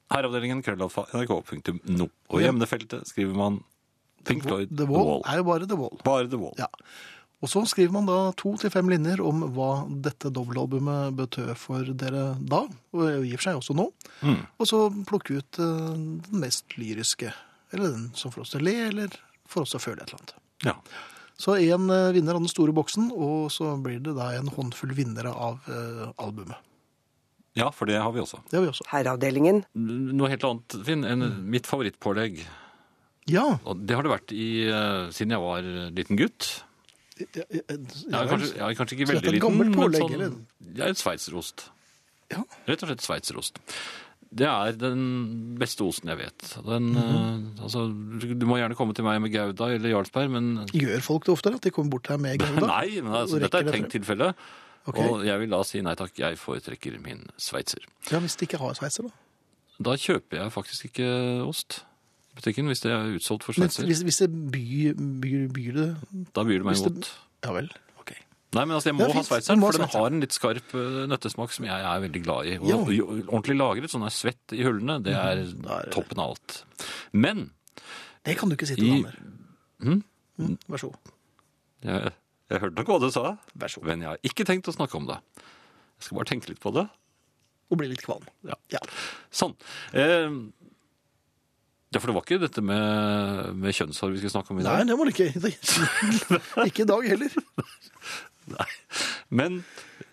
Speaker 3: Heravdelingen krøllalfa nrk.no. Og i emnefeltet skriver man Pink Floyd
Speaker 2: The Wall er jo bare The Wall.
Speaker 3: Bare The Wall.
Speaker 2: Ja. Og så skriver man da to til fem linjer om hva dette dobbeltalbumet betød for dere da, og i og for seg også nå.
Speaker 3: Mm.
Speaker 2: Og så plukke ut eh, den mest lyriske, eller den som får oss til å le, eller får oss til å føle et eller annet.
Speaker 3: Ja.
Speaker 2: Så én eh, vinner av den store boksen, og så blir det da en håndfull vinnere av eh, albumet.
Speaker 3: ja, for det har vi også.
Speaker 2: Det har vi også.
Speaker 1: Herreavdelingen.
Speaker 3: Noe helt annet, Finn, enn
Speaker 2: Mm.
Speaker 3: mitt favorittpålegg.
Speaker 2: Ja.
Speaker 3: Og det har det vært i, eh, siden jeg var liten gutt.
Speaker 2: ja, ja,
Speaker 3: Ja,
Speaker 2: ja,
Speaker 3: kanskje, ja, kanskje ikke
Speaker 2: Så dette er
Speaker 3: veldig
Speaker 2: et
Speaker 3: liten.
Speaker 2: gammelt pålegg,
Speaker 3: men
Speaker 2: eller?
Speaker 3: sånn, Ja, et sveitserost.
Speaker 2: Ja.
Speaker 3: Rett og slett sveitserost. Det er den beste osten jeg vet. Den,
Speaker 2: Mhm.
Speaker 3: eh, altså, du du må gjerne komme til meg med Gouda eller Jarlsberg, men
Speaker 2: Gjør folk det oftere, at de kommer bort her med Gouda?
Speaker 3: Nei, men altså,
Speaker 2: Og
Speaker 3: dette er
Speaker 2: rekker
Speaker 3: et
Speaker 2: det
Speaker 3: tenkt tilfelle.
Speaker 2: Ok.
Speaker 3: Og jeg vil da si nei takk, jeg foretrekker min sveitser.
Speaker 2: Ja, Hvis de ikke har sveitser, da.
Speaker 3: Da kjøper jeg faktisk ikke ost i butikken hvis det er utsolgt for
Speaker 2: Men
Speaker 3: sveitser.
Speaker 2: hvis, hvis det byr, byr, byr det
Speaker 3: Da byr det meg
Speaker 2: hvis det-
Speaker 3: imot.
Speaker 2: Ja vel. Ok.
Speaker 3: Nei, men altså, jeg
Speaker 2: Ja,
Speaker 3: må ha
Speaker 2: fint.
Speaker 3: sveitseren,
Speaker 2: Du må ha
Speaker 3: for den
Speaker 2: sveitseren.
Speaker 3: har en litt skarp eh, nøttesmak som jeg er veldig glad i. Og,
Speaker 2: Ja. Mhm.
Speaker 3: og jo- ordentlig lagret, sånn er svett i hullene, det er toppen av alt. Men
Speaker 2: Det kan du ikke si til
Speaker 3: I-
Speaker 2: damer. Mm, Vær så god.
Speaker 3: jeg, jeg hørte nok hva du sa,
Speaker 2: Vær så god.
Speaker 3: men jeg har ikke tenkt å snakke om det. Jeg skal bare tenke litt på det.
Speaker 2: Og bli litt kvalm.
Speaker 3: Ja.
Speaker 2: Ja.
Speaker 3: Sånn. Eh, ja, for det var ikke dette med, med kjønnshår vi skulle snakke om i
Speaker 2: Nei,
Speaker 3: dag.
Speaker 2: det var det ikke. ikke i dag heller.
Speaker 3: Men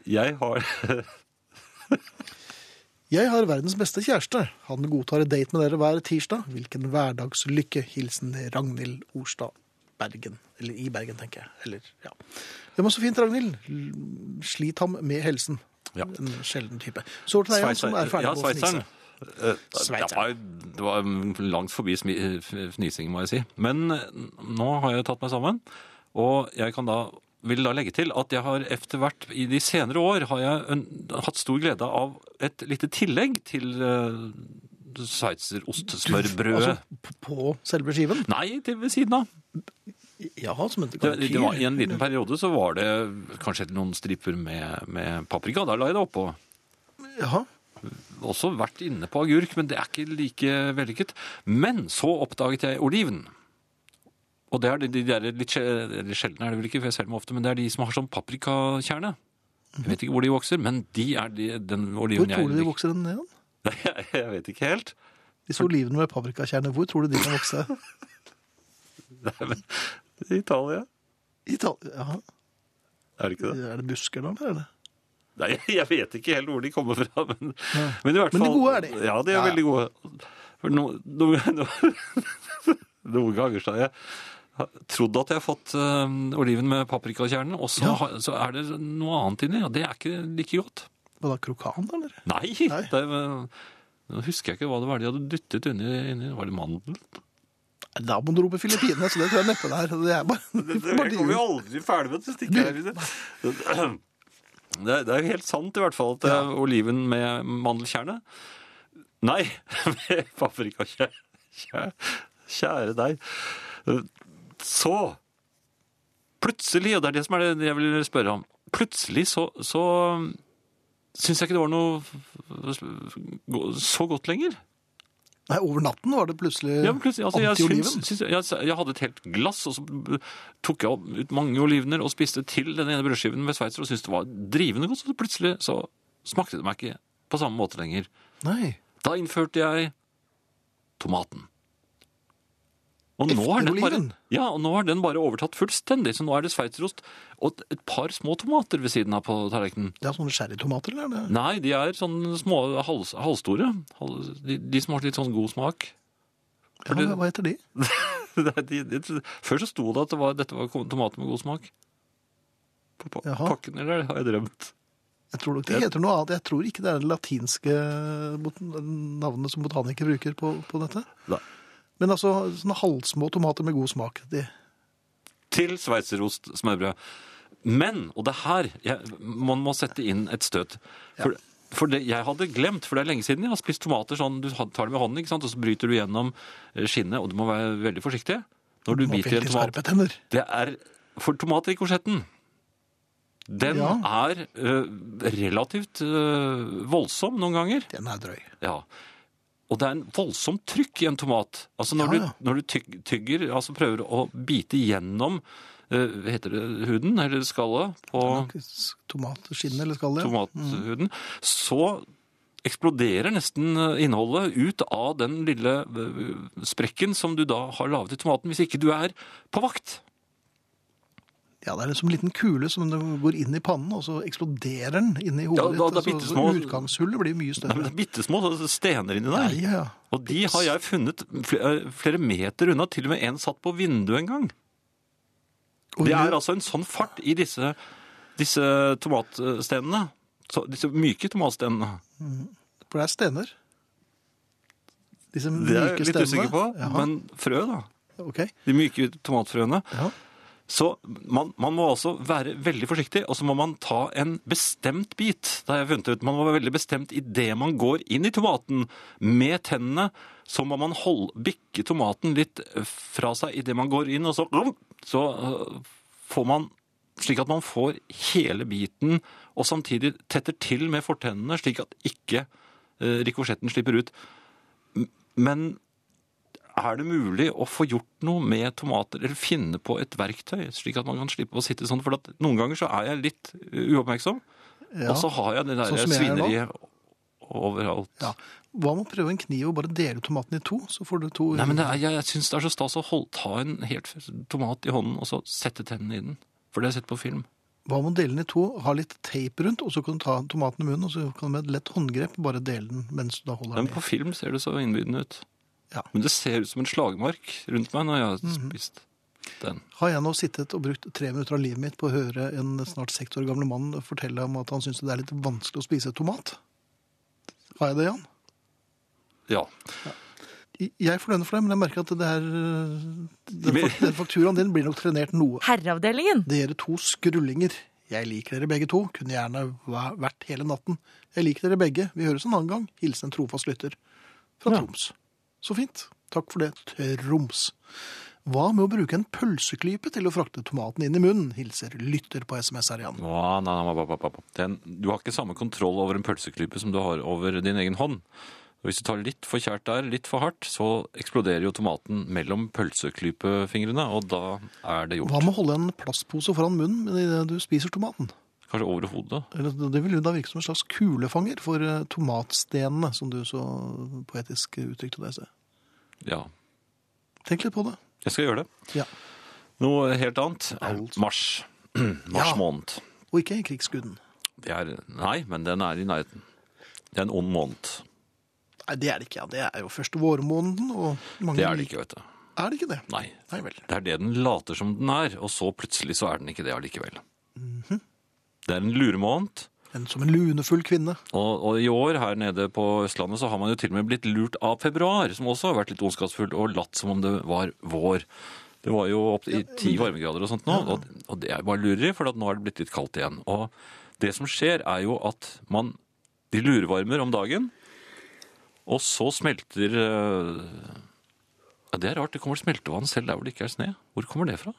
Speaker 3: jeg har
Speaker 2: Jeg har verdens beste kjæreste. Han godtar et date med dere hver tirsdag. Hvilken hverdagslykke. Hilsen Ragnhild Orstad Bergen. Eller i Bergen, tenker jeg. Eller, ja. Det var så fint, Ragnhild. L- Slit ham med helsen.
Speaker 3: Ja.
Speaker 2: En sjelden type. Så til deg, Jan, som er ferdig
Speaker 3: ja,
Speaker 2: med å
Speaker 3: sveitseren.
Speaker 2: fnise.
Speaker 3: Eh,
Speaker 2: Sveitseren.
Speaker 3: Det var, det var mm, langt forbi smi- f- fnising, må jeg si. Men nå har jeg tatt meg sammen, og jeg kan da vil da legge til at jeg har etter hvert i de senere år har jeg øn- hatt stor glede av et lite tillegg til uh, sveitserostsmørbrødet.
Speaker 2: Altså, p- på selve skiven?
Speaker 3: Nei, til ved siden av.
Speaker 2: Ja, som en
Speaker 3: Det, det var, I
Speaker 2: kalkyl.
Speaker 3: en liten periode så var det kanskje noen striper med, med paprika. Da la jeg det oppå.
Speaker 2: Jaha.
Speaker 3: også vært inne på agurk, men det er ikke like vellykket. Men så oppdaget jeg oliven. Og det er de, de der litt sje- eller sjelden er det vel ikke, for jeg selger meg ofte, men det er de som har sånn paprikakjerne. Jeg vet ikke hvor de vokser, men de er de, den
Speaker 2: Hvor
Speaker 3: oliven
Speaker 2: tror du de
Speaker 3: jeg
Speaker 2: vokser den ned?
Speaker 3: Nei, jeg, jeg vet ikke helt.
Speaker 2: Disse olivene med paprikakjerne, hvor tror du de kan vokse?
Speaker 3: Nei, men, I Italia.
Speaker 2: I Italia? Jaha.
Speaker 3: Er det ikke det?
Speaker 2: Er det busker da, eller? er det?
Speaker 3: Nei, jeg vet ikke helt hvor de kommer fra, men, men i hvert
Speaker 2: Men de
Speaker 3: fall
Speaker 2: gode er de.
Speaker 3: Ja, de er
Speaker 2: Ja.
Speaker 3: veldig gode. For no, no, no, noen ganger så har jeg trodd at jeg har fått eh, oliven med paprikakjernen, og så,
Speaker 2: Ja.
Speaker 3: har- så er det noe annet inni, og det er ikke like godt.
Speaker 2: Hva da, krokan, eller?
Speaker 3: Nei!
Speaker 2: Nei.
Speaker 3: Det, er- nå husker jeg ikke hva det var de hadde dyttet inni. inni. Var det mandel?
Speaker 2: Nei, Da må du rope Filippinene, så det tror jeg neppe det er. Det er bare, bare
Speaker 3: Jeg kommer jo
Speaker 2: de-
Speaker 3: aldri ferdig med det stikket her. liksom. Det, er- det er jo helt sant i hvert fall at det er oliven med mandelkjerne Nei, med paprikakjerne. Kjære, kjære deg. Så plutselig, og det er det som er det jeg vil spørre om Plutselig så, så syns jeg ikke det var noe så godt lenger.
Speaker 2: Nei, over natten var det plutselig,
Speaker 3: Ja, men plutselig, altså, jeg,
Speaker 2: Eh, anti-oliven.
Speaker 3: syns- syns- jeg, jeg hadde et helt glass, og så tok jeg opp- ut mange olivener og spiste til den ene brødskiven med sveitser og syntes det var drivende godt. Så plutselig så smakte det meg ikke på samme måte lenger.
Speaker 2: Nei.
Speaker 3: Da innførte jeg tomaten. Og nå,
Speaker 2: Efter
Speaker 3: er den bare,
Speaker 2: oliven?
Speaker 3: ja, og nå har den bare overtatt fullstendig, så nå er det sveitserost og et par små tomater ved siden av på tallerkenen.
Speaker 2: Det er sånne sherrytomater, eller? er det?
Speaker 3: Nei, de er sånne små hals, halvstore. Hal- De, de som har litt sånn god smak.
Speaker 2: Ja,
Speaker 3: det-
Speaker 2: hva- hva heter de?
Speaker 3: Nei, de, de, før så sto det at det var, dette var tomater med god smak. På pa
Speaker 2: Jaha.
Speaker 3: pakken, eller har jeg drømt?
Speaker 2: Jeg tror nok de heter noe annet. Jeg tror ikke det er det latinske bot- navnet som botanikere bruker på, på dette.
Speaker 3: Nei.
Speaker 2: Men altså, sånne halvsmå tomater med god smak. De,
Speaker 3: Til sveitserost smørbrød. Men, og det er her jeg, man må sette inn et støt. For, for det, jeg hadde glemt, for det er lenge siden jeg har spist tomater sånn, du tar det med hånden, ikke sant, og så bryter du gjennom eh, skinnet, og du må være veldig forsiktig når du
Speaker 2: man
Speaker 3: biter i en
Speaker 2: veldig
Speaker 3: tomat.
Speaker 2: skarpe tenner.
Speaker 3: Det er For tomatrikosjetten, den
Speaker 2: Ja.
Speaker 3: er eh, relativt eh, voldsom noen ganger.
Speaker 2: Den er drøy.
Speaker 3: Ja. Og det er en voldsomt trykk i en tomat. Altså når
Speaker 2: Ja, ja.
Speaker 3: du, når du tyg, tygger, altså prøver å bite gjennom eh, hva heter det huden, eller skallet, på
Speaker 2: Tomatskinn eller skall, ja. Mm.
Speaker 3: tomathuden, så eksploderer nesten eh, innholdet ut av den lille eh, sprekken som du da har laget i tomaten, hvis ikke du er på vakt.
Speaker 2: Ja, det er som en liten kule som det går inn i pannen, og så eksploderer den inn i hodet
Speaker 3: Ja, da- da
Speaker 2: ditt. Så, så
Speaker 3: bittesmå-
Speaker 2: utgangshullet blir mye
Speaker 3: Nei, men
Speaker 2: større.
Speaker 3: det er bittesmå stener inni
Speaker 2: Ja,
Speaker 3: der.
Speaker 2: ja, ja.
Speaker 3: Og de har jeg funnet fl- eh, flere meter unna, til og med en satt på vinduet en gang.
Speaker 2: Og
Speaker 3: Det
Speaker 2: vi-
Speaker 3: er altså en sånn fart i disse, disse tomatstenene. Så, disse myke tomatstenene.
Speaker 2: For det er stener. Disse
Speaker 3: Det er
Speaker 2: myke
Speaker 3: jeg litt
Speaker 2: stenene.
Speaker 3: usikker på.
Speaker 2: Jaha,
Speaker 3: Men frø, da.
Speaker 2: ok.
Speaker 3: De myke tomatfrøene.
Speaker 2: Ja.
Speaker 3: Så man, man må altså være veldig forsiktig, og så må man ta en bestemt bit. Det har jeg funnet ut. Man må være veldig bestemt idet man går inn i tomaten med tennene. Så må man hold- bikke tomaten litt fra seg idet man går inn, og så, så øh, får man slik at man får hele biten, og samtidig tetter til med fortennene, slik at ikke eh, rikosjetten slipper ut. M- Men er det mulig å få gjort noe med tomater, eller finne på et verktøy, slik at man kan slippe å sitte sånn? For at noen ganger så er jeg litt eh, uoppmerksom,
Speaker 2: Ja.
Speaker 3: og så har jeg det der
Speaker 2: Sånn som jeg er nå.
Speaker 3: svineriet overalt.
Speaker 2: Ja. Hva med å prøve en kniv og bare dele tomaten i to? Så får du to
Speaker 3: Nei, men det er, jeg, jeg syns det er så stas å holde, ta en helt tomat i hånden og så sette tennene i den. For det har jeg sett på film.
Speaker 2: Hva med å dele den i to, ha litt teip rundt, og så kan du ta tomaten i munnen, og så kan du med et lett håndgrep bare dele den mens du da holder
Speaker 3: Men
Speaker 2: den
Speaker 3: på
Speaker 2: i.
Speaker 3: film ser det så innbydende ut.
Speaker 2: Ja. Mhm.
Speaker 3: Men det ser ut som en slagmark rundt meg når jeg har spist den.
Speaker 2: Har jeg nå sittet og brukt tre minutter av livet mitt på å høre en snart seks år gamle mann fortelle om at han syns det er litt vanskelig å spise tomat? Har jeg det, Jan?
Speaker 3: Ja.
Speaker 2: Jeg får lønne for det, men jeg merker at det her, eh, den,
Speaker 3: Men-
Speaker 2: fak- den fakturaen din blir nok trenert noe.
Speaker 5: Herreavdelingen!
Speaker 2: Dere to skrullinger. Jeg liker dere begge to. Kunne gjerne væ- vært hele natten. Jeg liker dere begge. Vi høres en annen gang. Hilsen en trofast lytter. Fra Troms. Så fint. Takk for det, Troms. Hva med å bruke en pølseklype til å frakte tomaten inn i munnen? Hilser lytter på SMS her igjen.
Speaker 3: Nå, nei, nei, nei, nei, nei, nei. Den, du har ikke samme kontroll over en pølseklype som du har over din egen hånd. Og hvis du tar litt for kjært der, litt for hardt, så eksploderer jo tomaten mellom pølseklypefingrene, og da er det
Speaker 2: Hva
Speaker 3: gjort.
Speaker 2: med å holde en plastpose foran munnen idet du spiser tomaten?
Speaker 3: Kanskje over hodet.
Speaker 2: Eller, Det vil jo da virke som en slags kulefanger for eh, tomatstenene, som du så poetisk uttrykte deg. Stig.
Speaker 3: Ja.
Speaker 2: Tenk litt på det.
Speaker 3: Jeg skal gjøre det.
Speaker 2: Ja.
Speaker 3: Noe helt annet. Eh, Mars. Mars
Speaker 2: Ja.
Speaker 3: måned.
Speaker 2: Og ikke krigsguden.
Speaker 3: Det er, nei, men den er i nærheten. Det er en ond måned.
Speaker 2: Nei, det er det ikke. Ja. Det er jo første vårmåneden. Og mange
Speaker 3: Det er det ikke, vet du.
Speaker 2: Er det ikke det?
Speaker 3: Nei.
Speaker 2: Nei vel.
Speaker 3: Det er det den later som den er, og så plutselig så er den ikke det allikevel. Det er en luremåned,
Speaker 2: En som en lunefull kvinne.
Speaker 3: og, og i år her nede på Østlandet så har man jo til og med blitt lurt av februar, som også har vært litt ondskapsfull og latt som om det var vår. Det var jo opp i ti varmegrader og sånt nå, og, og det er bare lureri, for at nå har det blitt litt kaldt igjen. Og det som skjer er jo at man, de lurevarmer om dagen, og så smelter eh, ja, Det er rart, det kommer smeltevann selv der hvor det ikke er sne. Hvor kommer det fra?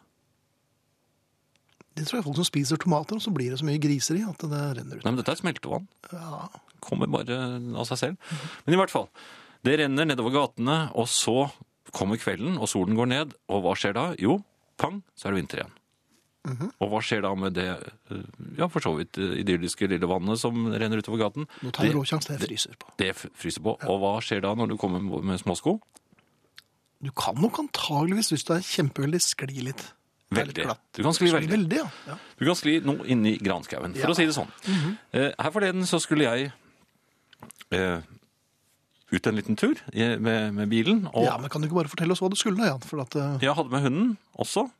Speaker 2: Det tror jeg er folk som spiser tomater, og så blir det så mye griseri at det renner ut.
Speaker 3: Nei, men dette er smeltevann.
Speaker 2: Ja.
Speaker 3: Kommer bare av seg selv. Men i hvert fall, det renner nedover gatene, og så kommer kvelden, og solen går ned, og hva skjer da? Jo, pang, så er det vinter igjen.
Speaker 2: Mhm.
Speaker 3: Og hva skjer da med det eh, ja, for så vidt eh, idylliske lille vannet som renner utover gaten?
Speaker 2: Nå tar
Speaker 3: Det-
Speaker 2: jeg råkjangs, det jeg fryser på.
Speaker 3: Det f- fryser på. Og hva skjer da når du kommer med småsko?
Speaker 2: Du kan nok antageligvis, hvis du er kjempeheldig, skli litt. Det er litt
Speaker 3: Veldig.
Speaker 2: glatt.
Speaker 3: Du kan skli veldig.
Speaker 2: Veldig, ja. ja.
Speaker 3: Du kan skli noe inn i granskauen, for
Speaker 2: Ja. Mhm.
Speaker 3: å si det sånn. Eh, Her forleden så skulle jeg eh, ut en liten tur eh, med, med bilen, og
Speaker 2: ja, men kan du ikke bare fortelle oss hva du skulle, Jan? For at, eh,
Speaker 3: jeg hadde med hunden også.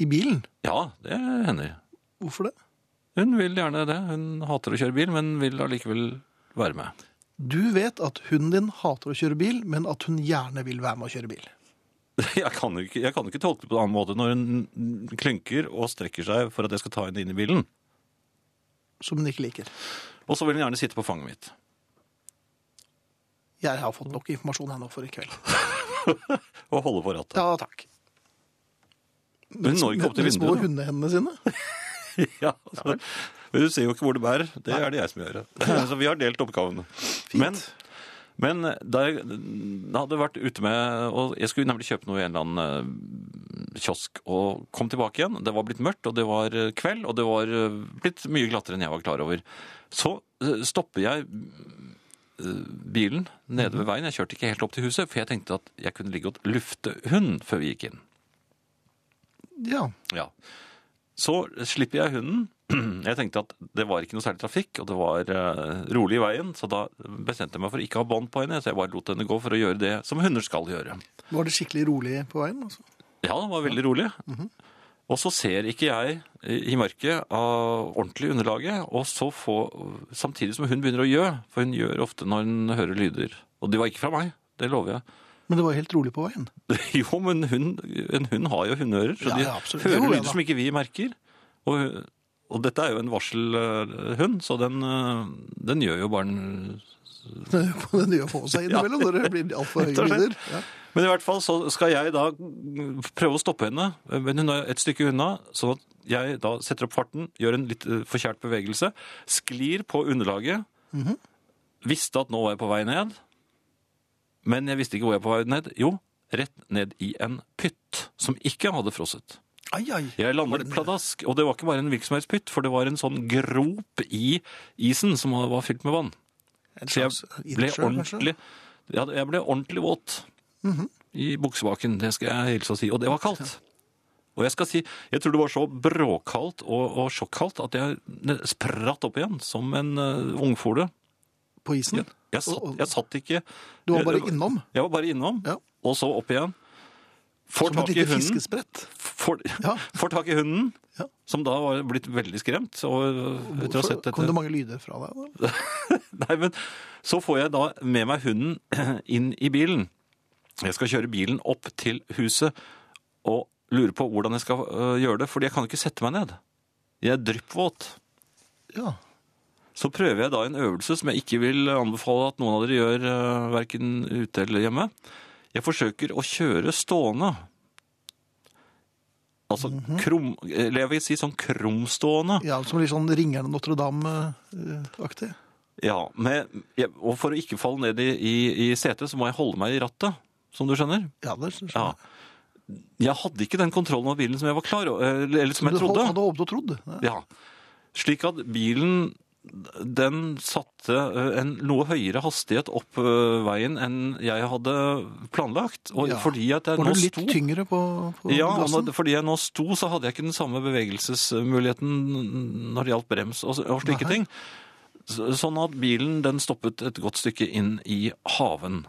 Speaker 2: I bilen?
Speaker 3: Ja, det hender.
Speaker 2: Hvorfor det?
Speaker 3: Hun vil gjerne det. Hun hater å kjøre bil, men vil allikevel være med.
Speaker 2: Du vet at hunden din hater å kjøre bil, men at hun gjerne vil være med å kjøre bil.
Speaker 3: Jeg kan jo ikke, jeg kan jo ikke tolke det på en annen måte når hun klynker og strekker seg for at jeg skal ta henne inn i bilen.
Speaker 2: Som hun ikke liker.
Speaker 3: Og så vil hun gjerne sitte på fanget mitt.
Speaker 2: Jeg har fått nok informasjon her nå for i kveld.
Speaker 3: Og holde på rattet.
Speaker 2: Ja, takk.
Speaker 3: Hun når ikke opp til
Speaker 2: Med de små
Speaker 3: vinduet.
Speaker 2: hundehendene sine.
Speaker 3: Ja, altså, men du ser jo ikke hvor det bærer. Det er det jeg som gjør. det. Så vi har delt oppgavene. Men, men da jeg hadde vært ute med og Jeg skulle nemlig kjøpe noe i en eller annen eh, kiosk og kom tilbake igjen. Det var blitt mørkt, og det var eh, kveld, og det var eh, blitt mye glattere enn jeg var klar over. Så eh, stopper jeg eh, bilen nede ved veien. Jeg kjørte ikke helt opp til huset, for jeg tenkte at jeg kunne ligge og lufte hund før vi gikk inn.
Speaker 2: Ja.
Speaker 3: Ja. Så slipper jeg hunden. Jeg tenkte at det var ikke noe særlig trafikk, og det var eh, rolig i veien, så da bestemte jeg meg for å ikke ha bånd på henne, så jeg bare lot henne gå for å gjøre det som hunder skal gjøre.
Speaker 2: Var det skikkelig rolig på veien? Altså?
Speaker 3: Ja, det var veldig rolig. Og så ser ikke jeg i i mørket av ordentlig underlaget, og så få, samtidig som hun begynner å gjø, for hun gjør ofte når hun hører lyder. Og det var ikke fra meg, det lover jeg.
Speaker 2: Men det var helt rolig på veien.
Speaker 3: Jo, men hun, en hund har jo hundeører, så
Speaker 2: Ja,
Speaker 3: de
Speaker 2: ja, absolutt.
Speaker 3: hører
Speaker 2: Jo, ja da.
Speaker 3: lyder som ikke vi merker. Og, Og dette er jo en varselhund, så den, eh, den gjør jo bare en
Speaker 2: Den gjør på seg innimellom når det blir altfor høye
Speaker 3: Rett og slett.
Speaker 2: lyder. Ja.
Speaker 3: Men i hvert fall så skal jeg da prøve å stoppe henne, men hun er et stykke unna, sånn at jeg da setter opp farten, gjør en litt eh, forkjært bevegelse, sklir på underlaget,
Speaker 2: Mhm.
Speaker 3: visste at nå var jeg på vei ned, men jeg visste ikke hvor jeg var på vei ned. Jo, rett ned i en pytt som ikke hadde frosset.
Speaker 2: Ai, ai.
Speaker 3: Jeg landet pladask, og det var ikke bare en virksomhetspytt, for det var en sånn grop i isen som var fylt med vann.
Speaker 2: En
Speaker 3: Så
Speaker 2: slags
Speaker 3: jeg ble
Speaker 2: ildsjø, kanskje?
Speaker 3: ordentlig, ja, jeg ble ordentlig våt i buksebaken, det skal jeg hilse og si. Og det var kaldt. Og jeg skal si, jeg tror det var så bråkaldt og, og sjokkaldt at jeg ne- spratt opp igjen som en uh, ungfole.
Speaker 2: På isen?
Speaker 3: Jeg, jeg, satt, jeg satt ikke
Speaker 2: Mm. Du var bare innom?
Speaker 3: Jeg var bare innom,
Speaker 2: Ja.
Speaker 3: og så opp igjen. Får
Speaker 2: Som et
Speaker 3: tak i
Speaker 2: lite
Speaker 3: hunden.
Speaker 2: fiskesprett?
Speaker 3: Får,
Speaker 2: Ja.
Speaker 3: får tak i hunden,
Speaker 2: Ja.
Speaker 3: som da var blitt veldig skremt. Og, eh, etter å ha
Speaker 2: Hvorfor
Speaker 3: sett dette.
Speaker 2: Kom det mange lyder fra deg? da?
Speaker 3: Nei, men så får jeg da med meg hunden inn i bilen. Jeg skal kjøre bilen opp til huset og lure på hvordan jeg skal øh, gjøre det, fordi jeg kan ikke sette meg ned. Jeg er dryppvåt.
Speaker 2: Ja.
Speaker 3: Så prøver jeg da en øvelse som jeg ikke vil anbefale at noen av dere gjør, øh, verken ute eller hjemme. Jeg forsøker å kjøre stående. Altså krum... Eller jeg vil si sånn krumstående.
Speaker 2: ja, som litt sånn Ringerne Notre-Dame-aktig?
Speaker 3: Ja, med, jeg- og for å ikke falle ned i, i, i setet, så må jeg holde meg i rattet, som du skjønner.
Speaker 2: Ja, det skjønner
Speaker 3: Ja.
Speaker 2: jeg.
Speaker 3: Jeg hadde ikke den kontrollen over bilen som jeg var klar over, eller eller som jeg
Speaker 2: du hold-
Speaker 3: trodde.
Speaker 2: hadde håpet og trodd. Ja.
Speaker 3: Ja. Slik at bilen, den satte eh, en noe høyere hastighet opp eh, veien enn jeg hadde planlagt. Og
Speaker 2: Ja.
Speaker 3: fordi at jeg
Speaker 2: Var
Speaker 3: nå
Speaker 2: du litt
Speaker 3: sto...
Speaker 2: tyngre på, på
Speaker 3: Ja, og
Speaker 2: gassen?
Speaker 3: når, fordi jeg nå sto, så hadde jeg ikke den samme bevegelsesmuligheten når det gjaldt brems og, og slike ting. Så- Sånn at bilen den stoppet et godt stykke inn i haven.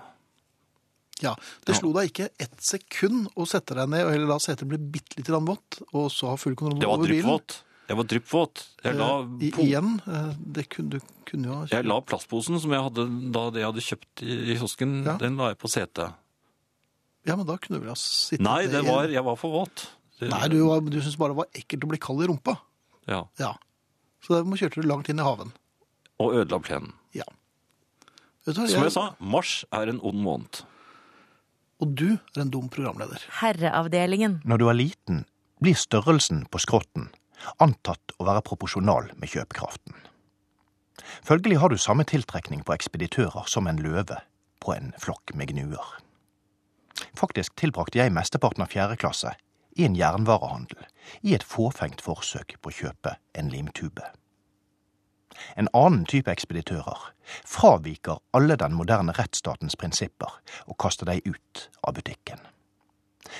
Speaker 2: Ja, Det slo deg ikke ett sekund å sette deg ned, og heller la setet bli bitte lite grann vått, og så ha full kontroll
Speaker 3: Det var
Speaker 2: over bilen?
Speaker 3: dryppvåt. Jeg var dryppvåt. Jeg la,
Speaker 2: Eh, i-
Speaker 3: po-
Speaker 2: Igjen? eh, Det kunne, du kunne jo ha
Speaker 3: jeg la plastposen som jeg hadde da det jeg hadde kjøpt i, i kiosken,
Speaker 2: Ja.
Speaker 3: den la jeg på setet.
Speaker 2: Ja, men da kunne du vel ha sittet
Speaker 3: Nei,
Speaker 2: ned
Speaker 3: det
Speaker 2: i-
Speaker 3: var, jeg var for våt. Det-
Speaker 2: Nei, du, var- du syntes bare det var ekkelt å bli kald i rumpa.
Speaker 3: Ja,
Speaker 2: Ja. Så da må- kjørte du langt inn i haven.
Speaker 3: og ødela plenen.
Speaker 2: Ja. Vet du hva,
Speaker 3: Som jeg sa, mars er en ond måned.
Speaker 2: Og du er en dum programleder.
Speaker 5: Herreavdelingen.
Speaker 6: Når du er liten, blir størrelsen på skrotten antatt å være proporsjonal med kjøpekraften. Følgelig har du samme tiltrekning på ekspeditører som en løve på en flokk med gnuer. Faktisk tilbrakte jeg mesteparten av fjerde klasse i en jernvarehandel i et fåfengt forsøk på å kjøpe en limtube. En annen type ekspeditører fraviker alle den moderne rettsstatens prinsipper og kaster deg ut av butikken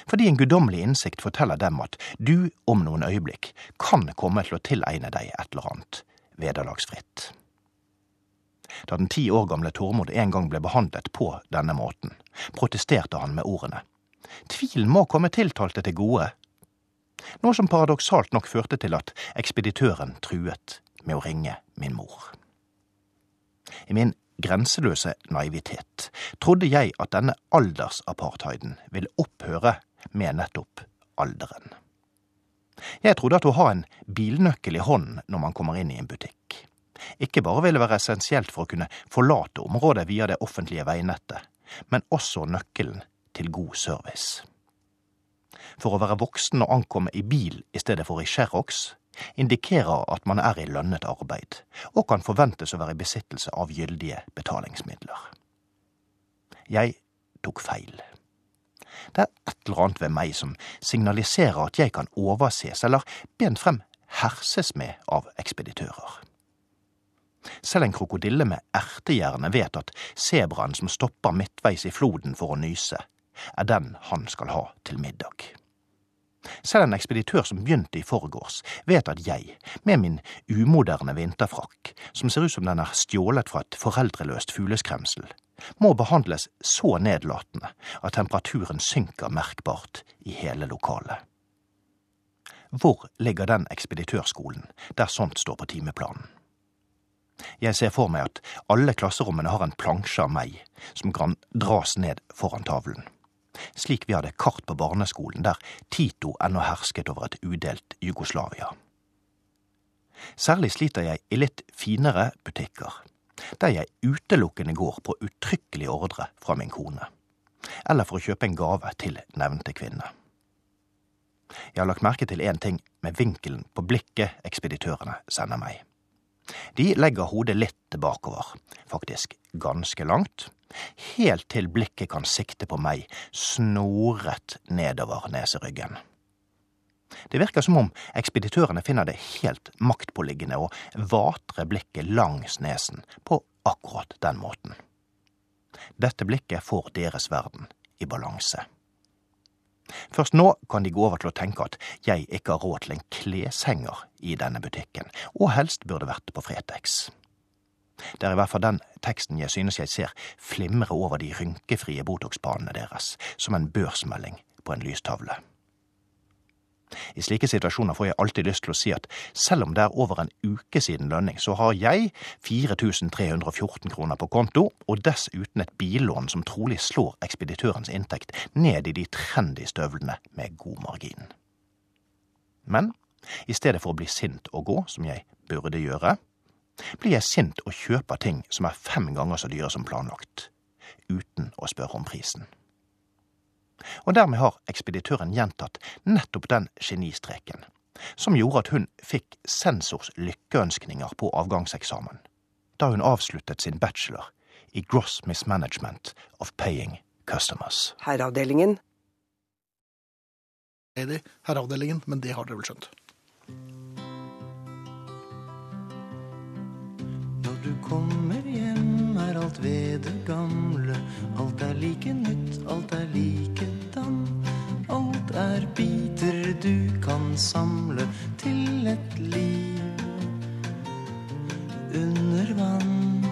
Speaker 6: fordi en guddommelig innsikt forteller dem at du om noen øyeblikk kan komme til å tilegne deg et eller annet vederlagsfritt. Da den ti år gamle Tormod en gang ble behandlet på denne måten, protesterte han med ordene Tvilen må komme tiltalte til gode, noe som paradoksalt nok førte til at ekspeditøren truet med å ringe min mor. I min grenseløse naivitet trodde jeg at denne aldersapartheiden ville opphøre med nettopp alderen. Jeg trodde at å ha en bilnøkkel i hånden når man kommer inn i en butikk, ikke bare ville være essensielt for å kunne forlate området via det offentlige veinettet, men også nøkkelen til god service. For å være voksen og ankomme i bil i stedet for i Sherrox indikerer at man er i lønnet arbeid, og kan forventes å være i besittelse av gyldige betalingsmidler. Jeg tok feil. Det er et eller annet ved meg som signaliserer at jeg kan overses eller bent frem herses med av ekspeditører. Selv en krokodille med ertehjerne vet at sebraen som stopper midtveis i floden for å nyse, er den han skal ha til middag. Selv en ekspeditør som begynte i forgårs, vet at jeg, med min umoderne vinterfrakk, som ser ut som den er stjålet fra et foreldreløst fugleskremsel, må behandles så nedlatende at temperaturen synker merkbart i hele lokalet. Hvor ligger den ekspeditørskolen der sånt står på timeplanen? Jeg ser for meg at alle klasserommene har en plansje av meg som kan dras ned foran tavlen slik vi hadde kart på barneskolen der Tito ennå hersket over et udelt Jugoslavia. Særlig sliter jeg i litt finere butikker, der jeg utelukkende går på uttrykkelig ordre fra min kone, eller for å kjøpe en gave til nevnte kvinne. Jeg har lagt merke til én ting med vinkelen på blikket ekspeditørene sender meg. De legger hodet litt bakover, faktisk ganske langt, helt til blikket kan sikte på meg snoret nedover neseryggen. Det virker som om ekspeditørene finner det helt maktpåliggende å vatre blikket langs nesen på akkurat den måten. Dette blikket får deres verden i balanse. Først nå kan de gå over til å tenke at jeg ikke har råd til en kleshenger i denne butikken, og helst burde vært på Fretex. Det er i hvert fall den teksten jeg synes jeg ser flimre over de rynkefrie Botox-panene deres, som en børsmelding på en lystavle. I slike situasjoner får jeg alltid lyst til å si at selv om det er over en uke siden lønning, så har jeg 4314 kroner på konto, og dessuten et billån som trolig slår ekspeditørens inntekt ned i de trendy støvlene med god margin. Men i stedet for å bli sint og gå, som jeg burde gjøre, blir jeg sint og kjøper ting som er fem ganger så dyre som planlagt, uten å spørre om prisen og dermed har ekspeditøren gjentatt nettopp den genistreken som gjorde at hun fikk sensors lykkeønskninger på avgangseksamen da hun avsluttet sin bachelor i gross mismanagement of paying customers.
Speaker 1: Herreavdelingen.
Speaker 2: Heidi, herreavdelingen, men det har dere vel skjønt.
Speaker 7: Når du kommer hjem er alt ved det gamle Alt er like nytt, alt er likedan Alt er biter du kan samle til et liv under vann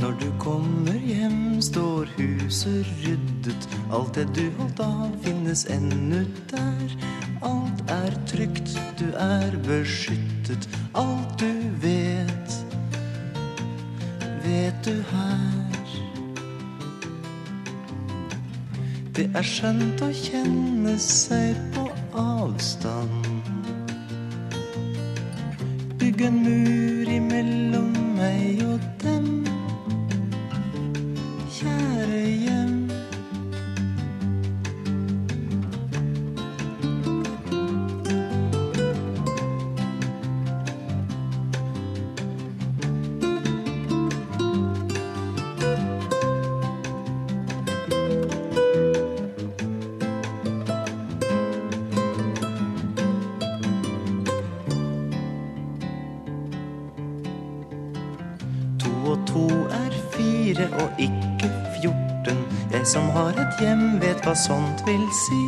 Speaker 7: Når du kommer hjem står huset ryddet Alt det du holdt av finnes ennå der Alt er trygt, du er beskyttet Alt du vet, vet du her Det er skjønt å kjenne seg på avstand Bygg en mur imellom meg og dem Kjære hjem To og to er fire og ikke fjorten Jeg som har et hjem vet hva sånt vil si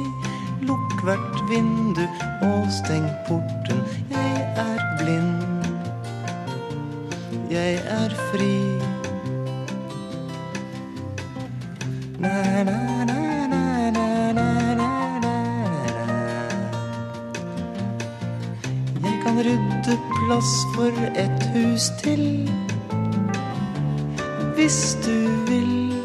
Speaker 7: Lukk hvert vindu og steng porten Jeg er blind Jeg er fri Na, na, na, na, na, na, na, na, na. Jeg kan rydde plass for et hus til hvis du vil.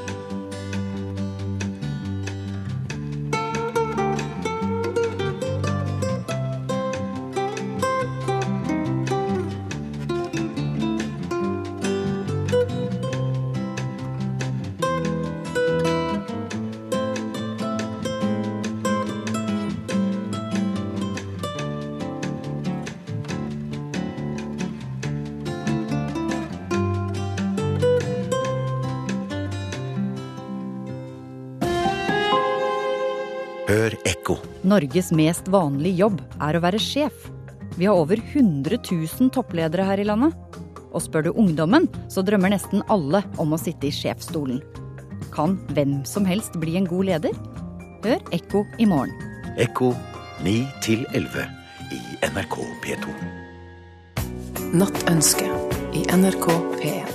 Speaker 8: Hør ekko.
Speaker 9: Norges mest vanlige jobb er å være sjef. Vi har over 100 000 toppledere her i landet. Og spør du ungdommen, så drømmer nesten alle om å sitte i sjefsstolen. Kan hvem som helst bli en god leder? Hør Ekko i morgen.
Speaker 8: Ekko 9 til 11 i NRK P2.
Speaker 10: Nattønske i NRK P1.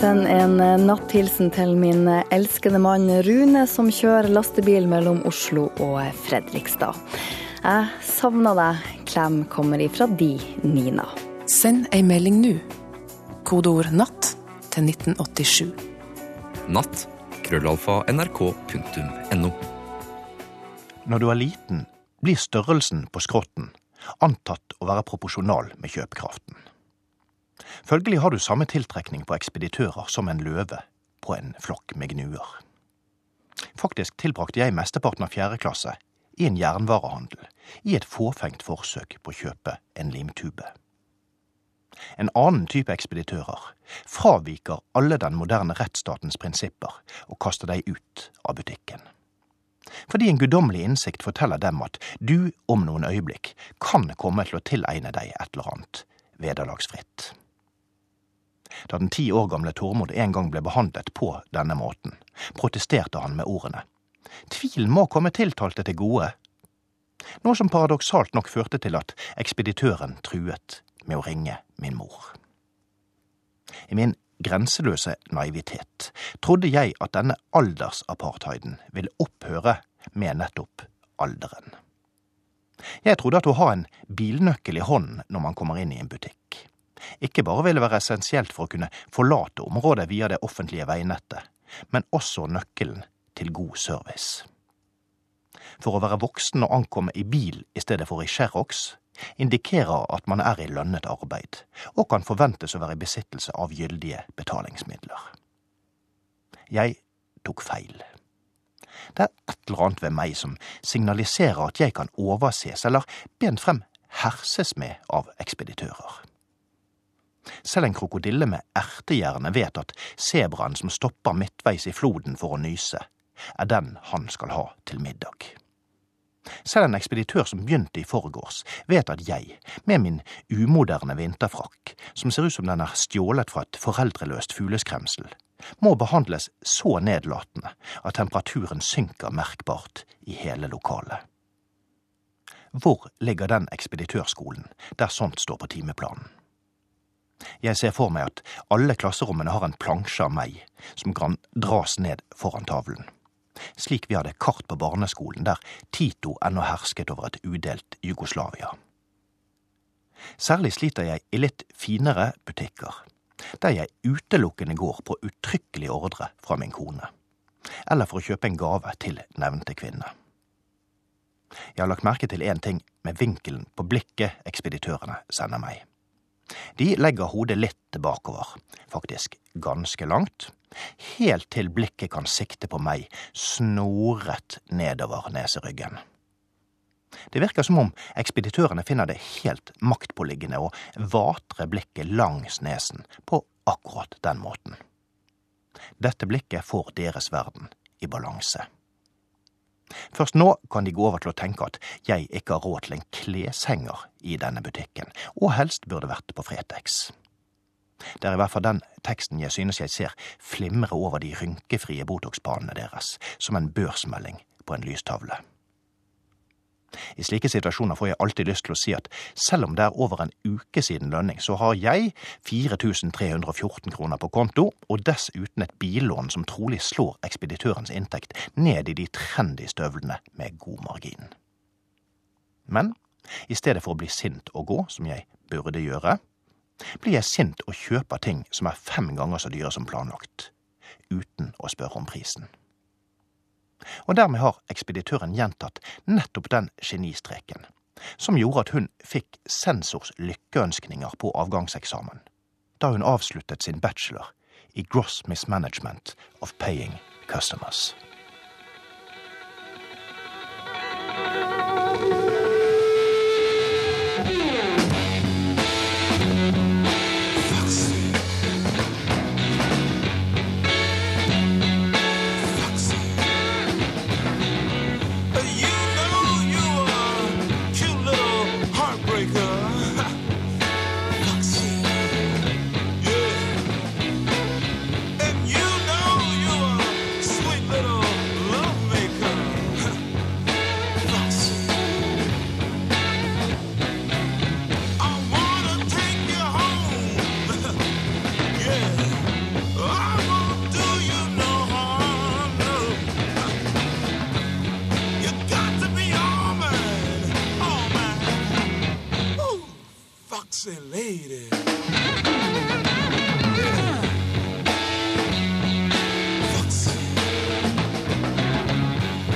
Speaker 11: Send en eh, natthilsen til min eh, elskede mann Rune, som kjører lastebil mellom Oslo og eh, Fredrikstad. Jeg savner deg. Klem kommer ifra di, Nina.
Speaker 10: Send ei melding nå. Kodeord 'natt' til 1987.
Speaker 12: Natt. Krøllalfa nrk.no.
Speaker 6: Når du er liten, blir størrelsen på skrotten antatt å være proporsjonal med kjøpekraften. Følgelig har du samme tiltrekning på ekspeditører som en løve på en flokk med gnuer. Faktisk tilbrakte jeg mesteparten av fjerde klasse i en jernvarehandel, i et fåfengt forsøk på å kjøpe en limtube. En annen type ekspeditører fraviker alle den moderne rettsstatens prinsipper og kaster deg ut av butikken. Fordi en guddommelig innsikt forteller dem at du om noen øyeblikk kan komme til å tilegne deg et eller annet vederlagsfritt. Da den ti år gamle Tormod en gang ble behandlet på denne måten, protesterte han med ordene Tvil må komme tiltalte til gode, noe som paradoksalt nok førte til at ekspeditøren truet med å ringe min mor. I min grenseløse naivitet trodde jeg at denne aldersapartheiden ville opphøre med nettopp alderen. Jeg trodde at å ha en bilnøkkel i hånden når man kommer inn i en butikk, ikke bare ville være essensielt for å kunne forlate området via det offentlige veinettet, men også nøkkelen til god service. For å være voksen og ankomme i bil i stedet for i Sherrox indikerer at man er i lønnet arbeid, og kan forventes å være i besittelse av gyldige betalingsmidler. Jeg tok feil. Det er et eller annet ved meg som signaliserer at jeg kan overses eller bent frem herses med av ekspeditører. Selv en krokodille med ertehjerne vet at sebraen som stopper midtveis i floden for å nyse, er den han skal ha til middag. Selv en ekspeditør som begynte i forgårs, vet at jeg, med min umoderne vinterfrakk, som ser ut som den er stjålet fra et foreldreløst fugleskremsel, må behandles så nedlatende at temperaturen synker merkbart i hele lokalet. Hvor ligger den ekspeditørskolen der sånt står på timeplanen? Jeg ser for meg at alle klasserommene har en plansje av meg som kan dras ned foran tavlen slik vi hadde kart på barneskolen, der Tito ennå hersket over et udelt Jugoslavia. Særlig sliter jeg i litt finere butikker, der jeg utelukkende går på uttrykkelig ordre fra min kone, eller for å kjøpe en gave til nevnte kvinne. Jeg har lagt merke til én ting med vinkelen på blikket ekspeditørene sender meg. De legger hodet litt bakover, faktisk ganske langt, helt til blikket kan sikte på meg, snoret nedover neseryggen. Det virker som om ekspeditørene finner det helt maktpåliggende å vatre blikket langs nesen på akkurat den måten. Dette blikket får deres verden i balanse. Først nå kan de gå over til å tenke at jeg ikke har råd til en kleshenger i denne butikken, og helst burde vært på Fretex. Det er i hvert fall den teksten jeg synes jeg ser flimre over de rynkefrie Botox-panene deres, som en børsmelding på en lystavle. I slike situasjoner får jeg alltid lyst til å si at selv om det er over en uke siden lønning, så har jeg 4314 kroner på konto, og dessuten et billån som trolig slår ekspeditørens inntekt ned i de trendy støvlene med god margin. Men i stedet for å bli sint og gå, som jeg burde gjøre, blir jeg sint og kjøper ting som er fem ganger så dyre som planlagt, uten å spørre om prisen. Og dermed har ekspeditøren gjentatt nettopp den genistreken som gjorde at hun fikk sensors lykkeønskninger på avgangseksamen da hun avsluttet sin bachelor i gross mismanagement of paying customers.
Speaker 13: Sweet little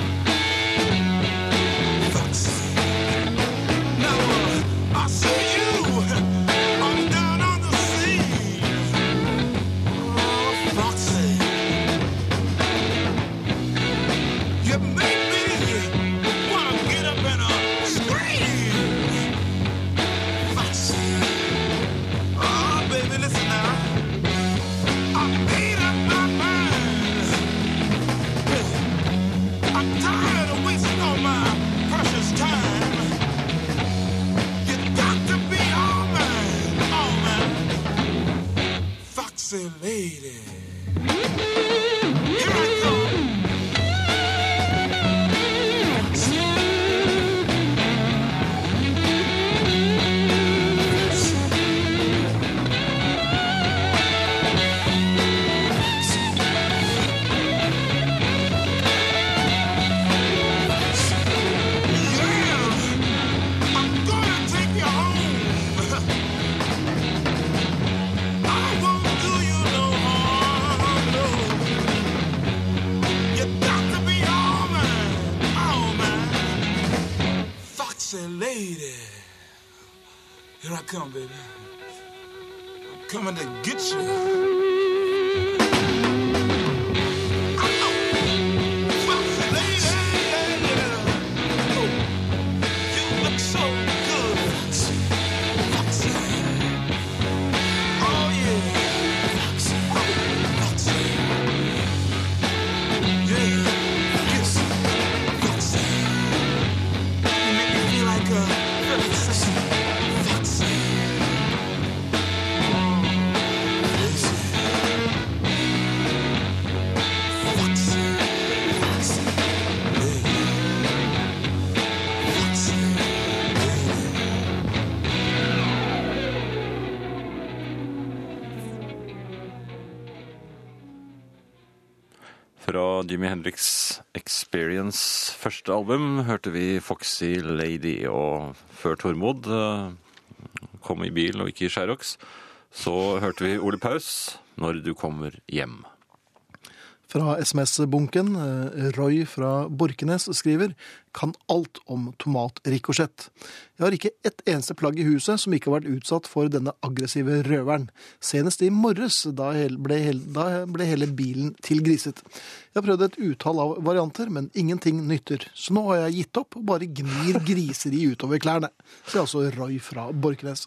Speaker 7: uh, Oh, Oh,
Speaker 13: dancing lady. Foxy lady. Here I come, baby. I'm coming to get you. Foxy lady. You look so good. Foxy. Oh, yeah. Foxy. Foxy. Yeah. Yes. Foxy. You make me feel like a foxy. Foxy. Foxy. Foxy. Foxy.
Speaker 3: Fra Jimmy Hendrix' Experience første album hørte vi Foxy Lady, og før Tormod eh, kom i bil og ikke i Sherrox, så hørte vi Ole Paus, Når du kommer hjem.
Speaker 2: Fra SMS-bunken, eh, Roy fra Borkenes skriver kan alt om tomatrikosjett. Jeg har ikke ett eneste plagg i huset som ikke har vært utsatt for denne aggressive røveren. Senest i morges, da hel- ble, hel- da ble hele bilen tilgriset. Jeg har prøvd et utall av varianter, men ingenting nytter. Så nå har jeg gitt opp og bare gnir griseri utover klærne. Så altså Roy fra Borkenes.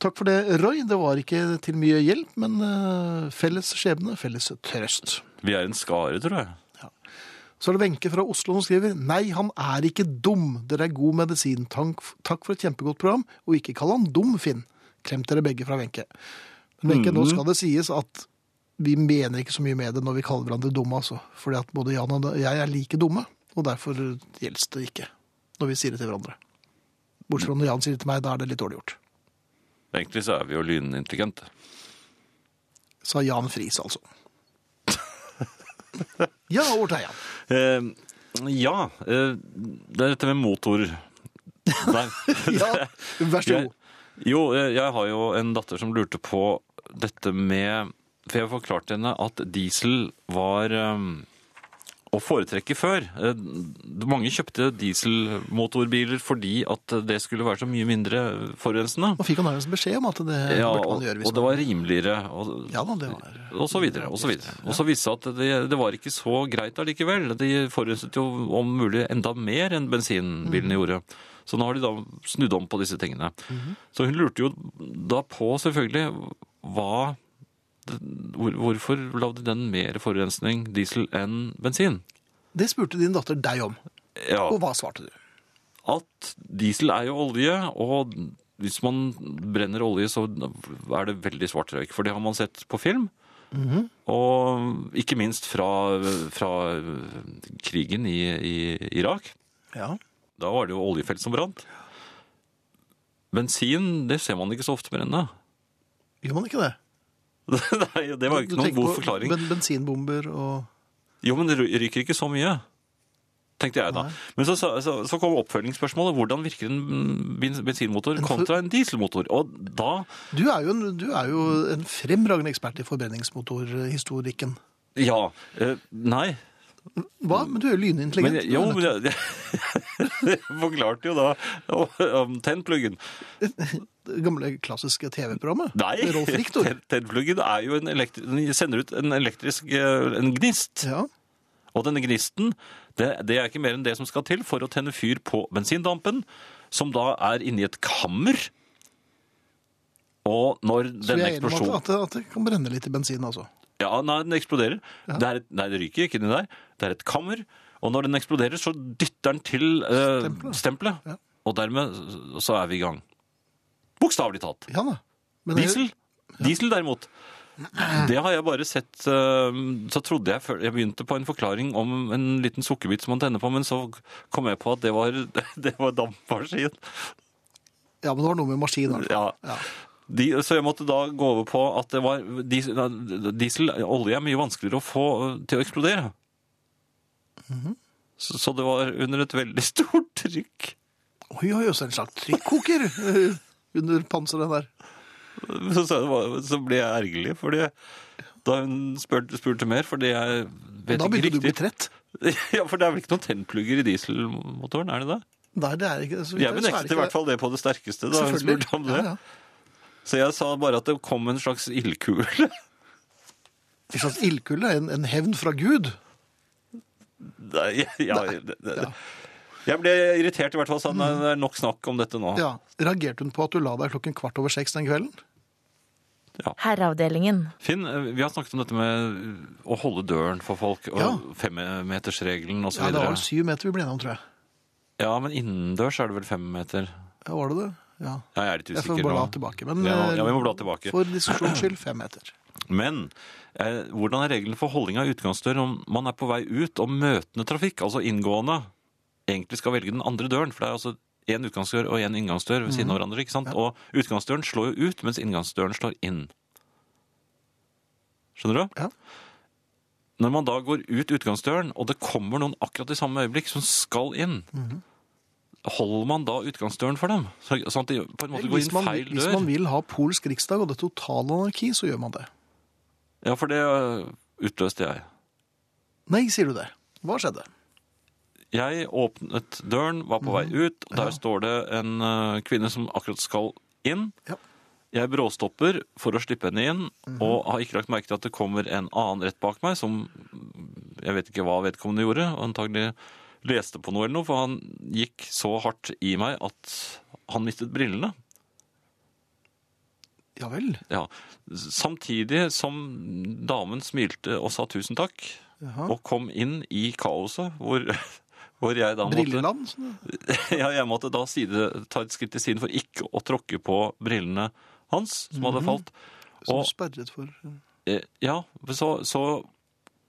Speaker 2: Takk for det, Roy. Det var ikke til mye hjelp, men eh, felles skjebne, felles trøst.
Speaker 3: Vi er en skare, tror jeg.
Speaker 2: Så er det Wenche fra Oslo som skriver Nei, han er ikke dum. Dere er god medisin. Tank, takk for et kjempegodt program. Og ikke kall han dum, Finn. Klem dere begge fra Wenche. Men Wenche, nå
Speaker 3: Mhm.
Speaker 2: skal det sies at vi mener ikke så mye med det når vi kaller hverandre dumme, altså. Fordi at både Jan og jeg er like dumme, og derfor gjelder det ikke når vi sier det til hverandre. Bortsett fra når Jan sier det til meg, da er det litt dårlig gjort.
Speaker 3: Egentlig så er vi jo lynintelligente.
Speaker 2: Sa Jan Friis, altså. ja, over til Jan.
Speaker 3: Eh, ja, eh, det er dette med motor. Der.
Speaker 2: Ja, vær så god.
Speaker 3: Jeg, jo, eh, jeg har jo en datter som lurte på dette med For jeg forklarte henne at diesel var eh, å foretrekke før. Eh, mange kjøpte dieselmotorbiler fordi at det skulle være så mye mindre forurensende.
Speaker 2: Nå fikk han nærmest beskjed om at det
Speaker 3: Ja,
Speaker 2: Eh, burde
Speaker 3: og,
Speaker 2: man gjøre hvis
Speaker 3: og det var rimeligere. Og,
Speaker 2: Ja da, det var
Speaker 3: og så videre, og så videre. Og så viste det seg at det, det var ikke så greit allikevel. De forurenset jo om mulig enda mer enn bensinbilene
Speaker 2: Mm.
Speaker 3: gjorde. Så nå har de da snudd om på disse tingene.
Speaker 2: Mhm.
Speaker 3: Så hun lurte jo da på selvfølgelig hva hvor, Hvorfor lagde den mer forurensning, diesel, enn bensin?
Speaker 2: Det spurte din datter deg om.
Speaker 3: Ja.
Speaker 2: Og hva svarte du?
Speaker 3: At diesel er jo olje, og hvis man brenner olje, så er det veldig svart røyk. For det har man sett på film.
Speaker 2: Mhm.
Speaker 3: Og ikke minst fra, fra krigen i, i Irak.
Speaker 2: Ja.
Speaker 3: Da var det jo oljefelt som brant. Bensin det ser man ikke så ofte brenne.
Speaker 2: Gjør man ikke det?
Speaker 3: Nei, det var jo
Speaker 2: Du
Speaker 3: ikke noen
Speaker 2: tenker
Speaker 3: god
Speaker 2: på
Speaker 3: forklaring.
Speaker 2: Ben bensinbomber og
Speaker 3: Jo, men det ryker ikke så mye. Tenkte jeg da. Men så, så, så- så kom oppfølgingsspørsmålet. Hvordan virker en ben- bensinmotor kontra en dieselmotor? Og da
Speaker 2: Du er jo en, du er jo en fremragende ekspert i forbrenningsmotorhistorikken.
Speaker 3: Ja. eh, nei.
Speaker 2: Hva? Men du er jo
Speaker 3: Men,
Speaker 2: lynintelligent.
Speaker 3: jeg- jo, men jeg, jeg forklarte jo da om, om tennpluggen.
Speaker 2: Det gamle klassiske TV-programmet.
Speaker 3: Nei,
Speaker 2: Med Rolf Riktor.
Speaker 3: tenn- tennpluggen er jo en elektri- den sender ut en elektrisk eh, en gnist. Og denne gnisten, det, det er ikke mer enn det som skal til for å tenne fyr på bensindampen, som da er inni et kammer. Og når
Speaker 2: Så
Speaker 3: den
Speaker 2: jeg er enig med
Speaker 3: eksplosjonen
Speaker 2: at, at, det- at det kan brenne litt i bensin, altså.
Speaker 3: Ja, nei, den eksploderer. Det er et, nei, det ryker ikke inni der. Det er et kammer. Og når den eksploderer, så dytter den til eh, stempelet. Og dermed så er vi i gang. Bokstavelig talt.
Speaker 2: Ja da. Men det-
Speaker 3: Diesel. Diesel, derimot. Det har jeg bare sett eh, Så trodde jeg før- Jeg begynte på en forklaring om en liten sukkerbit som man tenner på, men så kom jeg på at det var, det var dampmaskin.
Speaker 2: Ja, men det var noe med maskin. altså.
Speaker 3: Ja. De, så jeg måtte da gå over på at det var diesel, diesel Olje er mye vanskeligere å få eh, til å eksplodere.
Speaker 2: Mhm.
Speaker 3: Så, så det var under et veldig stort trykk.
Speaker 2: Oi, oi, oi, så en slags trykkoker eh, under panseret der.
Speaker 3: Så, sa jeg det var, så ble jeg ergerlig, fordi da hun spurte, spurte mer, fordi jeg vet
Speaker 2: Da
Speaker 3: ikke
Speaker 2: begynte du å bli
Speaker 3: riktig
Speaker 2: trett.
Speaker 3: Ja, for det er vel ikke noen tennplugger i dieselmotoren, er det det?
Speaker 2: Nei, det er ikke så vidt
Speaker 3: Jeg
Speaker 2: vet, så er det
Speaker 3: benektet i
Speaker 2: ikke
Speaker 3: hvert fall det på det sterkeste da hun
Speaker 2: Selvfølgelig.
Speaker 3: spurte om det.
Speaker 2: Ja, ja.
Speaker 3: Så jeg sa bare at det kom en slags ildkule.
Speaker 2: En slags ildkulde, en, en hevn fra Gud.
Speaker 3: Nei, ja, det, det. Jeg ble irritert i hvert fall, sa han. Det er nok snakk om dette nå.
Speaker 2: Mm. Ja. Reagerte hun på at du la deg klokken kvart over seks den kvelden?
Speaker 5: Herreavdelingen.
Speaker 3: Finn, eh, vi har snakket om dette med å holde døren for folk, og
Speaker 2: Ja.
Speaker 3: femmetersregelen osv.
Speaker 2: Ja, det var vel syv meter vi ble enige om, tror jeg.
Speaker 3: Ja, men innendørs er det vel fem meter?
Speaker 2: Ja, var det det? Ja.
Speaker 3: Ja, jeg er litt
Speaker 2: Jeg
Speaker 3: usikker
Speaker 2: får bare
Speaker 3: nå.
Speaker 2: la tilbake. Men
Speaker 3: ja, ja, vi må bla
Speaker 2: eh,
Speaker 3: tilbake.
Speaker 2: for diskusjons skyld, fem meter.
Speaker 3: Men eh, hvordan er reglene for holding av utgangsdør om man er på vei ut og møtende trafikk, altså inngående, egentlig skal velge den andre døren? For det er altså én utgangsdør og én inngangsdør ved
Speaker 2: Mhm.
Speaker 3: siden av hverandre. ikke sant? Og utgangsdøren slår jo ut, mens inngangsdøren slår inn. Skjønner du? Når man da går ut utgangsdøren, og det kommer noen akkurat i samme øyeblikk som skal inn,
Speaker 2: Mhm.
Speaker 3: holder man da utgangsdøren for dem? Så- Sånn at de på en måte går
Speaker 2: Hvis
Speaker 3: inn
Speaker 2: man,
Speaker 3: feil dør?
Speaker 2: hvis man vil ha polsk riksdag og det er total anarki, så gjør man det.
Speaker 3: Ja, for det øh, utløste jeg.
Speaker 2: Nei, sier du det. Hva skjedde?
Speaker 3: Jeg åpnet døren, var på vei ut, og der står det en øh, kvinne som akkurat skal inn. Jeg bråstopper for å slippe henne inn, og har ikke lagt merke til at det kommer en annen rett bak meg, som mm, jeg vet ikke hva vedkommende gjorde, og antagelig leste på noe eller noe, for han gikk så hardt i meg at han mistet brillene.
Speaker 2: Ja vel.
Speaker 3: Ja. Samtidig som damen smilte og sa tusen takk,
Speaker 2: Jaha.
Speaker 3: og kom inn i kaoset, hvor, hvor jeg da måtte
Speaker 2: Brilleland? sånn.
Speaker 3: ja, jeg måtte da side, ta et skritt til siden for ikke å tråkke på brillene hans, som hadde
Speaker 2: Mhm.
Speaker 3: falt.
Speaker 2: Som
Speaker 3: Og
Speaker 2: sperret for
Speaker 3: eh, ja, så, så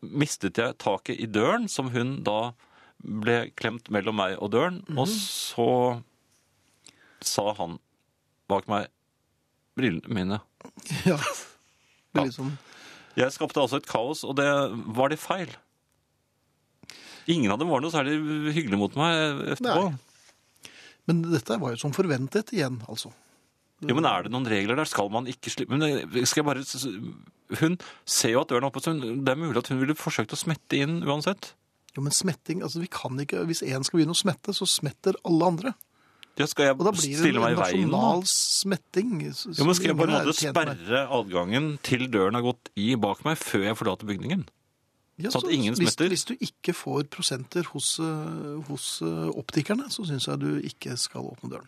Speaker 3: mistet jeg taket i døren, som hun da ble klemt mellom meg og døren. Og
Speaker 2: Mhm.
Speaker 3: så sa han bak meg brillene mine.
Speaker 2: Ja. Det er litt sånn
Speaker 3: Jeg skapte altså et kaos, og det var det feil. Ingen av dem var noe særlig hyggelig mot meg etterpå.
Speaker 2: Nei. Men dette var jo som forventet igjen, altså.
Speaker 3: Jo, men er det noen regler der? Skal man ikke slippe Men eh, skal jeg bare s- s- Hun ser jo at døren er oppe, så hun, det er mulig at hun ville forsøkt å smette inn uansett.
Speaker 2: Jo, men smetting, altså vi kan ikke, Hvis én skal begynne å smette, så smetter alle andre.
Speaker 3: Ja, skal jeg
Speaker 2: Og da blir det
Speaker 3: stille meg i
Speaker 2: en
Speaker 3: veien?
Speaker 2: nasjonal
Speaker 3: da?
Speaker 2: smetting. s-
Speaker 3: Jo, men skal
Speaker 2: som
Speaker 3: jeg på en
Speaker 2: ingen er
Speaker 3: måte
Speaker 2: tjent med.
Speaker 3: sperre adgangen til døren har gått i bak meg, før jeg forlater bygningen?
Speaker 2: Ja,
Speaker 3: Sånn at ingen
Speaker 2: hvis,
Speaker 3: smetter?
Speaker 2: hvis du ikke får prosenter hos, eh, hos eh, optikerne, så syns jeg du ikke skal åpne døren.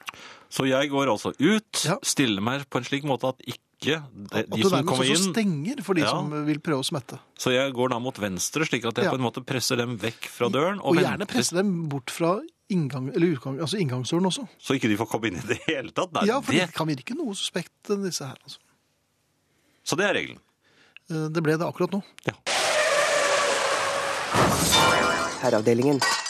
Speaker 3: Så jeg går altså ut, stiller meg på en slik måte at ikke de,
Speaker 2: At
Speaker 3: de
Speaker 2: du
Speaker 3: som
Speaker 2: nærmest
Speaker 3: kommer
Speaker 2: også
Speaker 3: inn
Speaker 2: sånn stenger for de
Speaker 3: Ja.
Speaker 2: som vil prøve å smette.
Speaker 3: Så jeg går da mot venstre, slik at jeg
Speaker 2: Ja.
Speaker 3: på en måte presser dem vekk fra døren.
Speaker 2: Og,
Speaker 3: Og,
Speaker 2: gjerne
Speaker 3: venter,
Speaker 2: presse dem bort fra inngang, eller utgang, altså inngangsdøren også.
Speaker 3: så ikke de får komme inn i det hele tatt. Nei,
Speaker 2: ja, for det
Speaker 3: det,
Speaker 2: kan virke noe suspekt, eh, disse her. Altså.
Speaker 3: så det er regelen.
Speaker 2: Eh, Det ble det akkurat nå.
Speaker 1: Herreavdelingen.